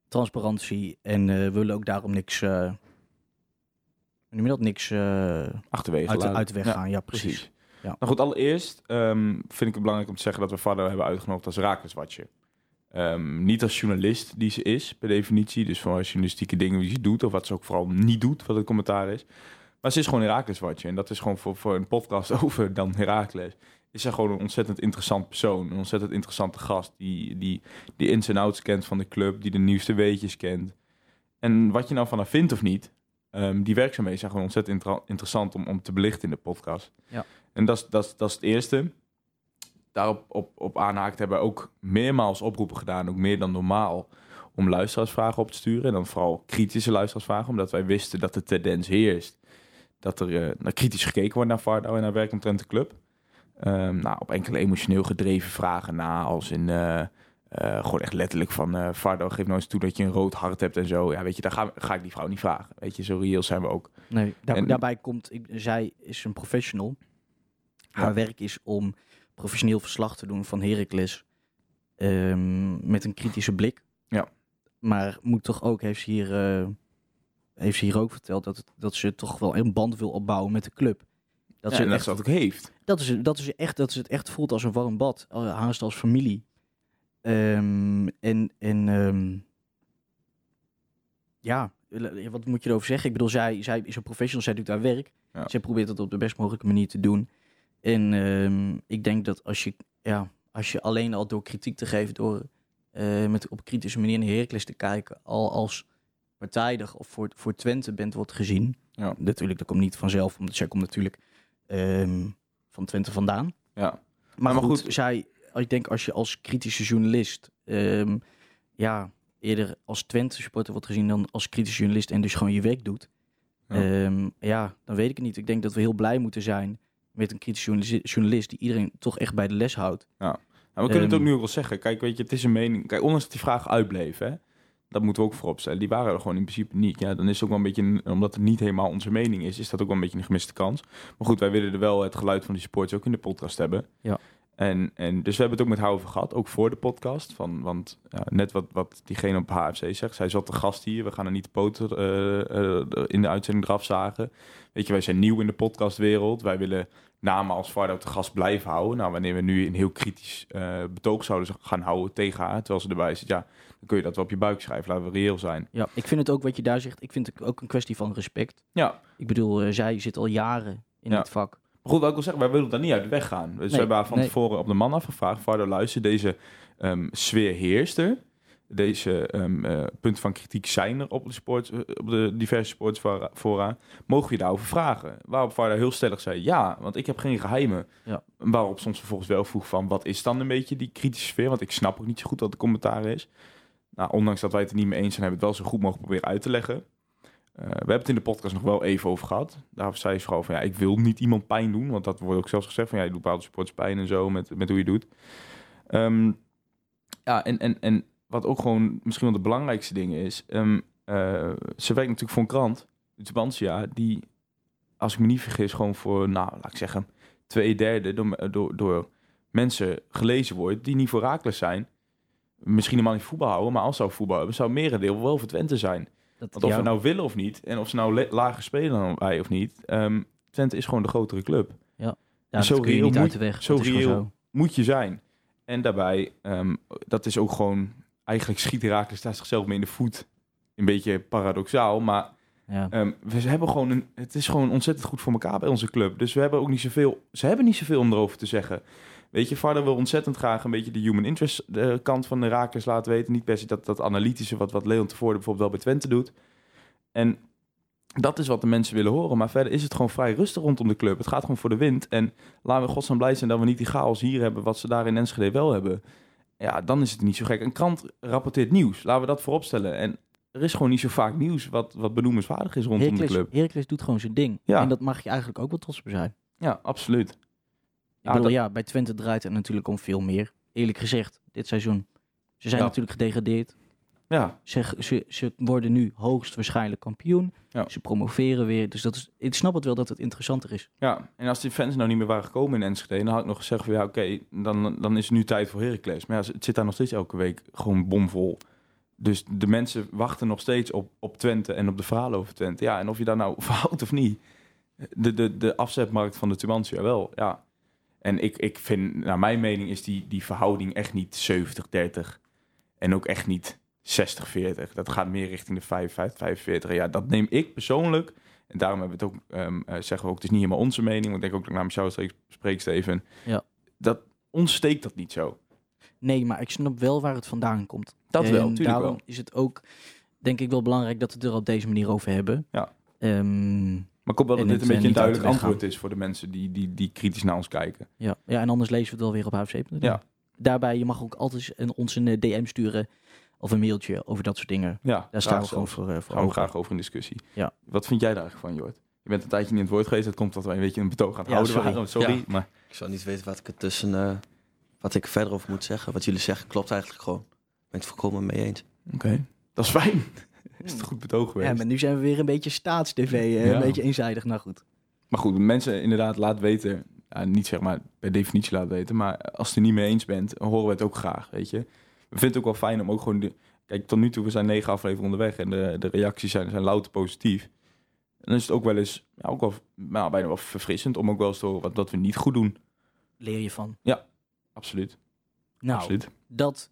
Speaker 2: transparantie. En eh, we willen ook daarom niks, eh hoe noem je dat, niks eh,
Speaker 1: Achterwege.
Speaker 2: uit, de,
Speaker 1: laten.
Speaker 2: uit de weg
Speaker 1: Ja.
Speaker 2: gaan. Ja, precies.
Speaker 1: Precies.
Speaker 2: Ja.
Speaker 1: Nou goed, allereerst ehm, vind ik het belangrijk om te zeggen dat we Fado hebben uitgenodigd als Rakerswatcher. Ehm niet als journalist die ze is, per definitie. Dus voor journalistieke dingen die ze doet, of wat ze ook vooral niet doet, wat het commentaar is. Maar ze is gewoon Herakles-watcher. En dat is gewoon voor, voor een podcast over dan Herakles. Is zij gewoon een ontzettend interessant persoon. Een ontzettend interessante gast. Die, die, die ins en outs kent van de club. Die de nieuwste weetjes kent. En wat je nou van haar vindt of niet. ehm, die werkzaamheden zijn gewoon ontzettend intra- interessant om, om te belichten in de podcast.
Speaker 2: Ja.
Speaker 1: En dat is- dat is dat is het eerste. Daarop op, op aanhaakt hebben we ook meermaals oproepen gedaan. Ook meer dan normaal. Om luisteraarsvragen op te sturen. En dan vooral kritische luisteraarsvragen. Omdat wij wisten dat de tendens heerst dat er eh, naar kritisch gekeken wordt naar Vardo en naar werk omtrent de club. Ehm, nou, op enkele emotioneel gedreven vragen na, als in eh, eh, gewoon echt letterlijk van eh Vardo, geef nou eens toe dat je een rood hart hebt en zo. Ja, weet je, daar ga, ga ik die vrouw niet vragen. Weet je, zo reëel zijn we ook.
Speaker 2: Nee, daar-
Speaker 1: En-
Speaker 2: daarbij komt, ik, zij is een professional. Haar
Speaker 1: Ja.
Speaker 2: werk is om professioneel verslag te doen van Heracles. ehm, met een kritische blik.
Speaker 1: Ja.
Speaker 2: Maar moet toch ook, heeft ze hier, eh, heeft ze hier ook verteld, dat, het- dat ze toch wel een band wil opbouwen met de club. Dat,
Speaker 1: Ja,
Speaker 2: ze
Speaker 1: en dat
Speaker 2: echt,
Speaker 1: ze dat ook heeft.
Speaker 2: dat, is, dat, is echt, dat ze het echt voelt als een warm bad. eh, Haast als familie. Ehm, en en ehm, ja, wat moet je erover zeggen? Ik bedoel, zij, zij is een professional, zij doet haar werk.
Speaker 1: Ja.
Speaker 2: Zij probeert dat op de best mogelijke manier te doen. En ehm, ik denk dat als je, ja, als je alleen al door kritiek te geven, door eh, met, op een kritische manier naar Heracles te kijken, al als partijdig of voor, voor Twente bent wordt gezien.
Speaker 1: Ja.
Speaker 2: Natuurlijk, dat komt niet vanzelf, omdat zij komt natuurlijk ehm, van Twente vandaan.
Speaker 1: Ja.
Speaker 2: Maar,
Speaker 1: Maar
Speaker 2: goed,
Speaker 1: goed.
Speaker 2: zij, ik denk als je als kritische journalist, ehm, ja, eerder als Twente supporter wordt gezien dan als kritische journalist en dus gewoon je werk doet.
Speaker 1: Ja.
Speaker 2: Ja, ja dan weet ik het niet. Ik denk dat we heel blij moeten zijn met een kritische journalist, journalist die iedereen toch echt bij de les houdt.
Speaker 1: Nou, we kunnen het
Speaker 2: Ehm.
Speaker 1: ook nu ook wel zeggen. Kijk, weet je, het is een mening. Kijk, ondanks dat die vragen uitbleven, hè, dat moeten we ook voorop stellen. Die waren er gewoon in principe niet. Ja, dan is het ook wel een beetje, een- omdat het niet helemaal onze mening is, is dat ook wel een beetje een gemiste kans. Maar goed, wij willen er wel het geluid van die supporters ook in de podcast hebben.
Speaker 2: Ja.
Speaker 1: En, en dus we hebben het ook met haar over gehad, ook voor de podcast. Van, want ja, net wat, wat diegene op HFC zegt, zij zat de gast hier. We gaan er niet de poten eh, eh, in de uitzending eraf zagen. Weet je, wij zijn nieuw in de podcastwereld. Wij willen namen als Varda op de gast blijven houden. Nou, wanneer we nu een heel kritisch eh, betoog zouden gaan houden tegen haar, terwijl ze erbij zit, ja, dan kun je dat wel op je buik schrijven. Laten we reëel zijn.
Speaker 2: Ja, ik vind het ook wat je daar zegt, ik vind het ook een kwestie van respect.
Speaker 1: Ja,
Speaker 2: Ik bedoel, eh, zij zit al jaren in
Speaker 1: Ja.
Speaker 2: dit vak.
Speaker 1: Maar goed, wat ik wil zeggen, wij willen daar niet uit de weg gaan. Dus we hebben haar van
Speaker 2: nee.
Speaker 1: tevoren op de man afgevraagd. Vardo, luister, deze ehm sfeerheerster. Deze ehm eh, punten van kritiek zijn er op de, sport, eh, op de diverse sportsfora. fora. Mogen we je daarover vragen? Waarop Varda heel stellig zei, ja, want ik heb geen geheimen.
Speaker 2: Ja.
Speaker 1: Waarop soms vervolgens wel vroeg van, wat is dan een beetje die kritische sfeer? Want ik snap ook niet zo goed wat de commentaar is. Nou, ondanks dat wij het er niet mee eens zijn, hebben we het wel zo goed mogelijk proberen uit te leggen. Eh, we hebben het in de podcast nog wel even over gehad. Daarvoor zei ze gewoon van ja, ik wil niet iemand pijn doen. Want dat wordt ook zelfs gezegd van ja, je doet bepaalde sports pijn en zo met, met hoe je het doet. Ehm, ja, en, en, en wat ook gewoon misschien wel de belangrijkste ding is. ehm, eh, ze werkt natuurlijk voor een krant, de Tubantia, die, als ik me niet vergis, gewoon voor, nou, laat ik zeggen, twee derde door, eh, door, door mensen gelezen wordt die niet voor Raakles zijn. Misschien helemaal niet voetbal houden, maar als ze ook voetbal hebben, zou het merendeel wel voor Twente zijn.
Speaker 2: Dat,
Speaker 1: Want of
Speaker 2: ja,
Speaker 1: we nou willen of niet, en of ze nou le- lager spelen dan wij of niet, ehm, Twente is gewoon de grotere club.
Speaker 2: ja, dat
Speaker 1: zo
Speaker 2: kun je
Speaker 1: reëel
Speaker 2: niet uit
Speaker 1: moet-
Speaker 2: de weg.
Speaker 1: zo
Speaker 2: Dat is gewoon
Speaker 1: reëel
Speaker 2: zo.
Speaker 1: Moet je zijn. En daarbij, ehm, dat is ook gewoon, eigenlijk schiet Herakles daar zichzelf mee in de voet. Een beetje paradoxaal, maar
Speaker 2: Ja.
Speaker 1: ehm, we hebben gewoon een, het is gewoon ontzettend goed voor elkaar bij onze club. Dus we hebben ook niet zoveel, ze hebben niet zoveel om erover te zeggen. Weet je, Varda wil ontzettend graag een beetje de human interest eh, kant van de Herakles laten weten. Niet per se dat, dat analytische wat, wat Leon tevoren bijvoorbeeld wel bij Twente doet. En Dat is wat de mensen willen horen. Maar verder is het gewoon vrij rustig rondom de club. Het gaat gewoon voor de wind. En laten we godsnaam blij zijn dat we niet die chaos hier hebben... wat ze daar in Enschede wel hebben. Ja, dan is het niet zo gek. Een krant rapporteert nieuws. Laten we dat vooropstellen. En er is gewoon niet zo vaak nieuws wat, wat benoemenswaardig is rondom de
Speaker 2: Heracles,
Speaker 1: club.
Speaker 2: Heracles doet gewoon zijn ding.
Speaker 1: Ja.
Speaker 2: En dat mag je eigenlijk ook wel trots op zijn.
Speaker 1: Ja, absoluut.
Speaker 2: Ik
Speaker 1: Ja,
Speaker 2: bedoel,
Speaker 1: dat-
Speaker 2: ja, bij Twente draait het natuurlijk om veel meer. Eerlijk gezegd, dit seizoen. Ze zijn
Speaker 1: Ja.
Speaker 2: natuurlijk gedegradeerd.
Speaker 1: Ja,
Speaker 2: Ze, ze, ze worden nu hoogstwaarschijnlijk kampioen.
Speaker 1: Ja.
Speaker 2: Ze promoveren weer. Dus dat is, ik snap het wel dat het interessanter is.
Speaker 1: Ja, en als die fans nou niet meer waren gekomen in Enschede, dan had ik nog gezegd van ja, oké, dan, dan is het nu tijd voor Heracles. Maar ja, het zit daar nog steeds elke week gewoon bomvol. Dus de mensen wachten nog steeds op, op Twente en op de verhalen over Twente. Ja, en of je daar nou verhoudt of niet, de, de, de afzetmarkt van de Tumantia wel, ja. En ik, ik vind, naar mijn mening, is die, die verhouding echt niet 70-30 en ook echt niet 60-40. Dat gaat meer richting de 55-45. Ja, dat neem ik persoonlijk en daarom hebben we het ook, ehm, eh, zeggen we ook, het is niet helemaal onze mening. Want ik denk ook dat ik namens jou streek- spreek, Steven.
Speaker 2: Ja.
Speaker 1: Dat ons steekt dat niet zo.
Speaker 2: Nee, maar ik snap wel waar het vandaan komt.
Speaker 1: Dat wel,
Speaker 2: En
Speaker 1: tuurlijk
Speaker 2: daarom
Speaker 1: wel.
Speaker 2: is het ook, denk ik, wel belangrijk dat we het er op deze manier over hebben.
Speaker 1: Ja.
Speaker 2: Ehm,
Speaker 1: Maar ik hoop wel dat
Speaker 2: En
Speaker 1: dit een beetje
Speaker 2: het, eh,
Speaker 1: een
Speaker 2: niet uit de
Speaker 1: duidelijk
Speaker 2: weg gaan.
Speaker 1: antwoord is voor de mensen die, die, die kritisch naar ons kijken.
Speaker 2: ja. ja, en anders lezen we het wel weer op HFC.
Speaker 1: Ja.
Speaker 2: Daarbij, je mag ook altijd een, ons een eh, DM sturen of een mailtje over dat soort dingen.
Speaker 1: Ja,
Speaker 2: Daar staan we gewoon voor, eh, voor
Speaker 1: Gaan we
Speaker 2: open.
Speaker 1: graag over in discussie.
Speaker 2: Ja.
Speaker 1: Wat vind jij daar eigenlijk van, Jort? Je bent een tijdje niet in het woord geweest. Dat komt dat wij een beetje een betoog aan het
Speaker 2: Ja,
Speaker 1: houden
Speaker 2: sorry.
Speaker 1: waren. Sorry,
Speaker 3: Ja.
Speaker 1: maar
Speaker 3: Ik zou niet weten wat ik er tussen, eh, wat ik verder over moet zeggen. Wat jullie zeggen klopt eigenlijk gewoon. Ik ben het volkomen mee eens.
Speaker 1: oké. Dat is fijn. is het een goed betoog geweest.
Speaker 2: Ja, maar nu zijn we weer een beetje staatstv, eh,
Speaker 1: Ja.
Speaker 2: een beetje eenzijdig. Nou goed.
Speaker 1: Maar goed, mensen inderdaad laat weten. ja, niet zeg maar per definitie laat weten. Maar als je het er niet mee eens bent, dan horen we het ook graag. Weet je. We vinden het ook wel fijn om ook gewoon. De, kijk, tot nu toe, we zijn negen afleveringen onderweg. En de, de reacties zijn, zijn louter positief. En dan is het ook wel eens. Ja, ook wel, nou, bijna wel verfrissend om ook wel eens te horen wat, wat we niet goed doen.
Speaker 2: Leer je van.
Speaker 1: Absoluut.
Speaker 2: Nou,
Speaker 1: Absoluut.
Speaker 2: dat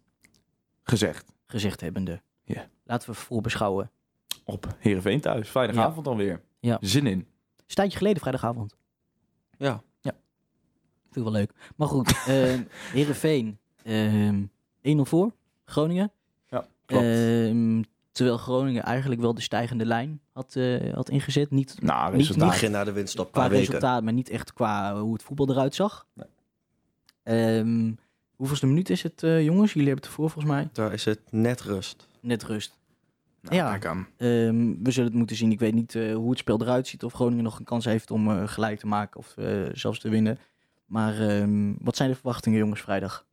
Speaker 1: Gezegd.
Speaker 2: gezegd hebbende.
Speaker 1: Ja.
Speaker 2: Laten we voorbeschouwen.
Speaker 1: Op Heerenveen thuis. Vrijdagavond dan weer.
Speaker 2: Ja.
Speaker 1: Zin in.
Speaker 2: Stijntje geleden vrijdagavond.
Speaker 3: Ja.
Speaker 2: Vind ik wel leuk. Maar goed, ehm Heerenveen. ehm 1-0 voor Groningen.
Speaker 1: Ja, klopt.
Speaker 2: Ehm, terwijl Groningen eigenlijk wel de stijgende lijn had, eh, had ingezet. Niet
Speaker 1: nou,
Speaker 2: niet-
Speaker 1: resultaat.
Speaker 3: Ik ging naar de winst op een
Speaker 2: qua
Speaker 3: paar weken.
Speaker 2: resultaat, maar niet echt qua hoe het voetbal eruit zag. Ehm, hoeveelste minuut is het, eh, jongens? Jullie hebben het voor volgens mij.
Speaker 3: Daar is het net rust.
Speaker 2: Net rust.
Speaker 1: Nou,
Speaker 2: ja.
Speaker 1: kijk aan.
Speaker 2: Ehm, we zullen het moeten zien. Ik weet niet eh, hoe het spel eruit ziet. Of Groningen nog een kans heeft om eh, gelijk te maken of eh, zelfs te winnen. Maar ehm, wat zijn de verwachtingen, jongens, vrijdag?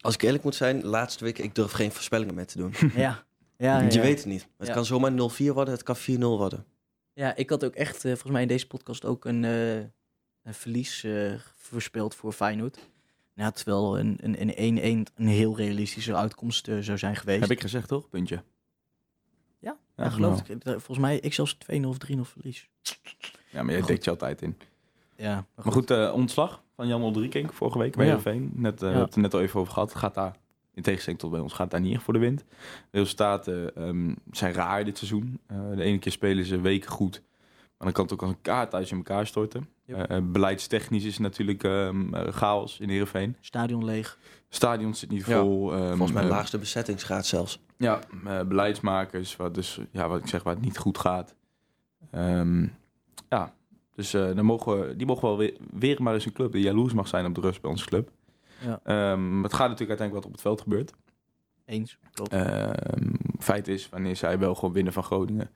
Speaker 3: Als ik eerlijk moet zijn, laatste week, ik durf geen voorspellingen meer te doen.
Speaker 2: ja. Ja,
Speaker 3: Want je
Speaker 2: ja.
Speaker 3: weet het niet. Het
Speaker 2: Ja.
Speaker 3: kan zomaar 0-4 worden, het kan 4-0 worden.
Speaker 2: ja, ik had ook echt, eh, volgens mij in deze podcast, ook een, eh, een verlies eh voorspeld voor Feyenoord. Ja, terwijl een 1-1 een, een, heel realistische uitkomst eh, zou zijn geweest.
Speaker 1: Heb ik gezegd toch? Puntje.
Speaker 2: Ja,
Speaker 1: ja,
Speaker 2: Ja, geloof
Speaker 1: nou.
Speaker 2: ik. Eh, Volgens mij ik zelfs 2-0 of 3-0 verlies.
Speaker 1: Ja, maar jij
Speaker 2: Goed.
Speaker 1: dekt je altijd in.
Speaker 2: Ja, maar goed.
Speaker 1: Maar goed, eh, ontslag van Jan Oldrikink vorige week bij
Speaker 2: Ja.
Speaker 1: Heerenveen. Net, eh, We
Speaker 2: Ja.
Speaker 1: hebben het er net al even over gehad. Gaat daar, in tegenstelling tot bij ons, gaat daar niet echt voor de wind. De resultaten ehm, zijn raar dit seizoen. Eh, de ene keer spelen ze weken goed. Maar dan kan het ook als een kaart thuis in elkaar storten. Eh, eh, beleidstechnisch is het natuurlijk ehm, eh, chaos in Heerenveen.
Speaker 2: Stadion leeg.
Speaker 1: Stadion zit niet
Speaker 3: Ja.
Speaker 1: vol. ehm,
Speaker 3: Volgens mij
Speaker 1: eh,
Speaker 3: laagste bezettingsgraad zelfs.
Speaker 1: ja, eh, beleidsmakers, wat, dus, ja, wat ik zeg, waar het niet goed gaat. Ehm, ja, dus eh, dan mogen, we- die mogen wel weer, weer maar eens een club die jaloers mag zijn op de rust bij onze club.
Speaker 2: Ja.
Speaker 1: Ehm, het gaat natuurlijk uiteindelijk wat op het veld gebeurt.
Speaker 2: Eens. Klopt.
Speaker 1: Ehm, feit is, wanneer zij wel gewoon winnen van Groningen,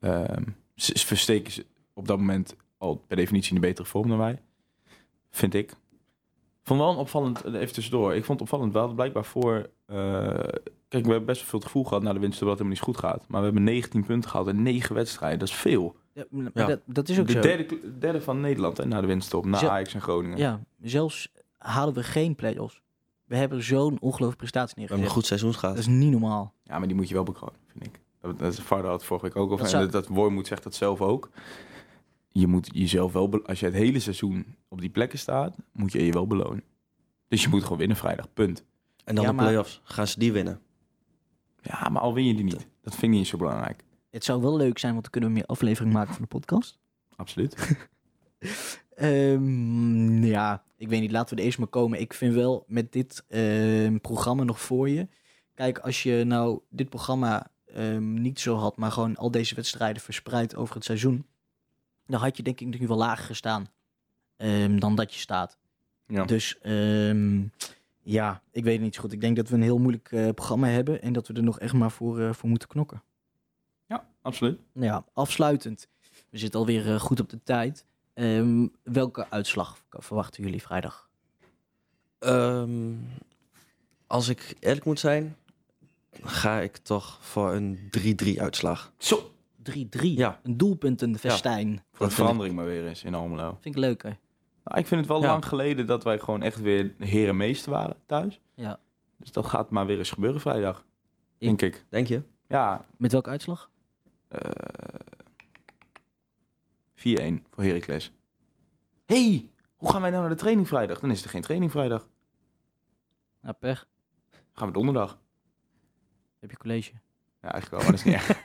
Speaker 1: ehm, ze- ze versteken ze op dat moment al per definitie in een betere vorm dan wij. Vind ik. Vond wel een opvallend, eh, even tussendoor, ik vond het opvallend wel blijkbaar voor... eh, kijk, we hebben best wel veel het gevoel gehad na de winst dat het helemaal niet goed gaat. Maar we hebben 19 punten gehaald in 9 wedstrijden. Dat is veel.
Speaker 2: Ja, maar
Speaker 3: Ja.
Speaker 2: Dat, dat is ook
Speaker 1: De
Speaker 2: zo.
Speaker 1: derde, cl- derde van Nederland hè, na de winststop, na
Speaker 2: Zo-
Speaker 1: Ajax en Groningen.
Speaker 2: Ja, zelfs halen we geen play-offs. We hebben zo'n ongelooflijke prestatie
Speaker 3: We hebben
Speaker 2: neergezet.
Speaker 3: een goed seizoen
Speaker 2: Dat
Speaker 3: gehad.
Speaker 2: is niet normaal.
Speaker 1: Ja, maar die moet je wel bekronen, vind ik. Dat, dat is Varda had het vorige week ook over.
Speaker 2: Dat
Speaker 1: Dat,
Speaker 2: zou-
Speaker 1: en dat, dat Wormoed zegt dat zelf ook. Je moet jezelf wel, be- als je het hele seizoen op die plekken staat, moet je je wel belonen. Dus je moet gewoon winnen vrijdag, punt.
Speaker 3: En dan
Speaker 2: Ja,
Speaker 3: de
Speaker 2: maar-
Speaker 3: play-offs. Gaan ze die winnen?
Speaker 1: Ja, maar al win je die niet. Dat vind ik niet zo belangrijk.
Speaker 2: Het zou wel leuk zijn, want dan kunnen we meer aflevering maken van de podcast.
Speaker 1: Absoluut.
Speaker 2: Ehm, ja, ik weet niet. Laten we er eerst maar komen. Ik vind wel met dit ehm, programma nog voor je. Kijk, als je nou dit programma eh, ehm, niet zo had, maar gewoon al deze wedstrijden verspreid over het seizoen, dan had je denk ik nu wel lager gestaan ehm, dan dat je staat.
Speaker 1: Ja.
Speaker 2: Dus ehm, ja, ik weet het niet zo goed. Ik denk dat we een heel moeilijk eh, programma hebben en dat we er nog echt maar voor, eh, voor moeten knokken.
Speaker 1: Ja, absoluut.
Speaker 2: Nou ja, afsluitend. We zitten alweer eh, goed op de tijd. Ehm, welke uitslag verwachten jullie vrijdag?
Speaker 3: Ehm, als ik eerlijk moet zijn, ga ik toch voor een 3-3 uitslag.
Speaker 1: Zo.
Speaker 2: 3-3.
Speaker 3: Ja.
Speaker 2: Een doelpunt en de festijn.
Speaker 1: Voor de verandering maar weer eens in Almelo.
Speaker 2: Vind ik leuk, hè?
Speaker 1: Nou, ik vind het wel
Speaker 3: Ja.
Speaker 1: lang geleden dat wij gewoon echt weer herenmeester waren thuis.
Speaker 2: Ja.
Speaker 1: Dus dat gaat maar weer eens gebeuren vrijdag. Denk ik.
Speaker 3: Denk je?
Speaker 1: Ja,
Speaker 2: Met welke uitslag?
Speaker 1: eh 4-1 voor Heracles. hey, hoe gaan wij nou naar de training vrijdag? Dan is er geen training vrijdag.
Speaker 2: Nou, pech.
Speaker 1: Gaan we donderdag?
Speaker 2: Heb je college?
Speaker 1: Ja, eigenlijk wel, maar dat is niet erg.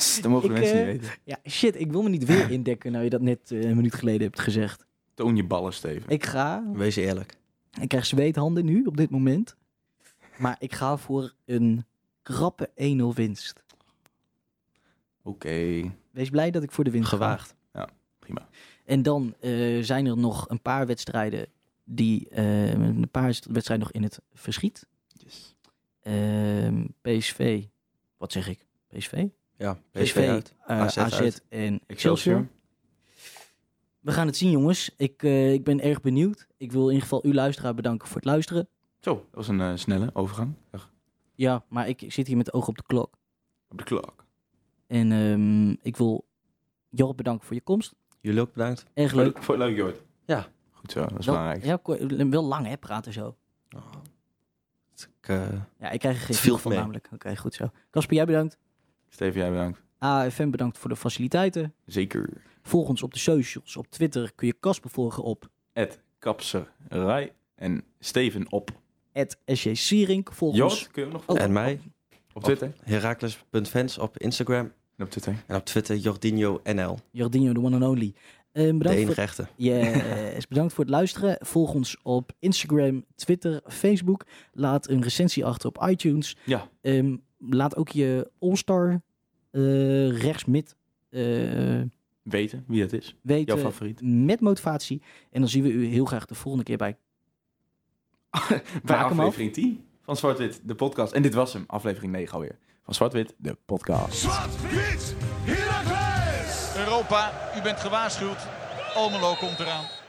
Speaker 1: Sst, Dat mogen de
Speaker 2: Ik,
Speaker 1: mensen
Speaker 2: eh,
Speaker 1: niet weten.
Speaker 2: Ja, shit. Ik wil me niet weer indekken nou je dat net eh, een minuut geleden hebt gezegd.
Speaker 1: Toon je ballen, Steven.
Speaker 2: Ik ga...
Speaker 3: Wees eerlijk.
Speaker 2: Ik krijg zweethanden nu, op dit moment. Maar ik ga voor een krappe 1-0 winst.
Speaker 1: Oké,
Speaker 2: Wees blij dat ik voor de winst ga.
Speaker 3: Gewaagd.
Speaker 1: prima.
Speaker 2: En dan eh, zijn er nog een paar wedstrijden die eh, een paar wedstrijden nog in het verschiet.
Speaker 1: Yes.
Speaker 2: Ehm, PSV, wat zeg ik? PSV?
Speaker 3: Ja, PSV uit.
Speaker 2: eh, AZ,
Speaker 3: AZ uit.
Speaker 2: en Excelsior.
Speaker 1: Excelsior.
Speaker 2: We gaan het zien, jongens. Ik, eh, ik ben erg benieuwd. Ik wil in ieder geval uw luisteraar bedanken voor het luisteren.
Speaker 1: Zo, dat was een eh, snelle overgang. Dag.
Speaker 2: Ja, maar ik, ik zit hier met het oog op de klok.
Speaker 1: Op de klok.
Speaker 2: En ehm, ik wil Jorp bedanken voor je komst.
Speaker 3: Jullie ook bedankt.
Speaker 2: Erg leuk.
Speaker 1: Leuk. Vond je het leuk, Jord?
Speaker 3: Ja.
Speaker 1: Goed zo, dat is
Speaker 2: Wel-
Speaker 1: belangrijk.
Speaker 2: Ja, ko- wel lang hè, praten zo.
Speaker 3: Ik, eh,
Speaker 2: Ja, ik krijg er geen
Speaker 3: Het viel
Speaker 2: veel van
Speaker 3: mee.
Speaker 2: namelijk. Oké, goed zo. Kasper, jij bedankt.
Speaker 1: Steven, jij bedankt.
Speaker 2: AFM bedankt voor de faciliteiten.
Speaker 1: Zeker.
Speaker 2: Volg ons op de socials. Op Twitter kun je Casper volgen op
Speaker 1: Ed Kapser Rij en Steven op.
Speaker 2: @sjsierink. Volg ons Oh.
Speaker 1: Jord, kun je ook nog volgen?
Speaker 3: en mij,
Speaker 1: Op Twitter.
Speaker 3: Herakles.fans op Instagram
Speaker 1: En op Twitter.
Speaker 3: en op Twitter Jordinho NL.
Speaker 2: Jardinho, the one and only. Eh,
Speaker 3: De
Speaker 2: bedankt, voor,
Speaker 3: enige echte.
Speaker 2: Yes, bedankt voor het luisteren. Volg ons op Instagram, Twitter, Facebook. Laat een recensie achter op iTunes.
Speaker 1: Ja.
Speaker 2: Ehm, laat ook je All-Star eh, rechtsmid eh,
Speaker 1: Weten wie het is. Jouw
Speaker 2: weten.
Speaker 1: favoriet.
Speaker 2: Met motivatie. En dan zien we u heel graag de volgende keer bij
Speaker 1: Bij
Speaker 2: hem
Speaker 1: aflevering 10 van Zwart-Wit, de podcast. En dit was hem, aflevering 9 alweer. Van Zwart-Wit, de podcast.
Speaker 4: Zwart-wit, Heracles!
Speaker 6: Europa, u bent gewaarschuwd. Almelo komt eraan.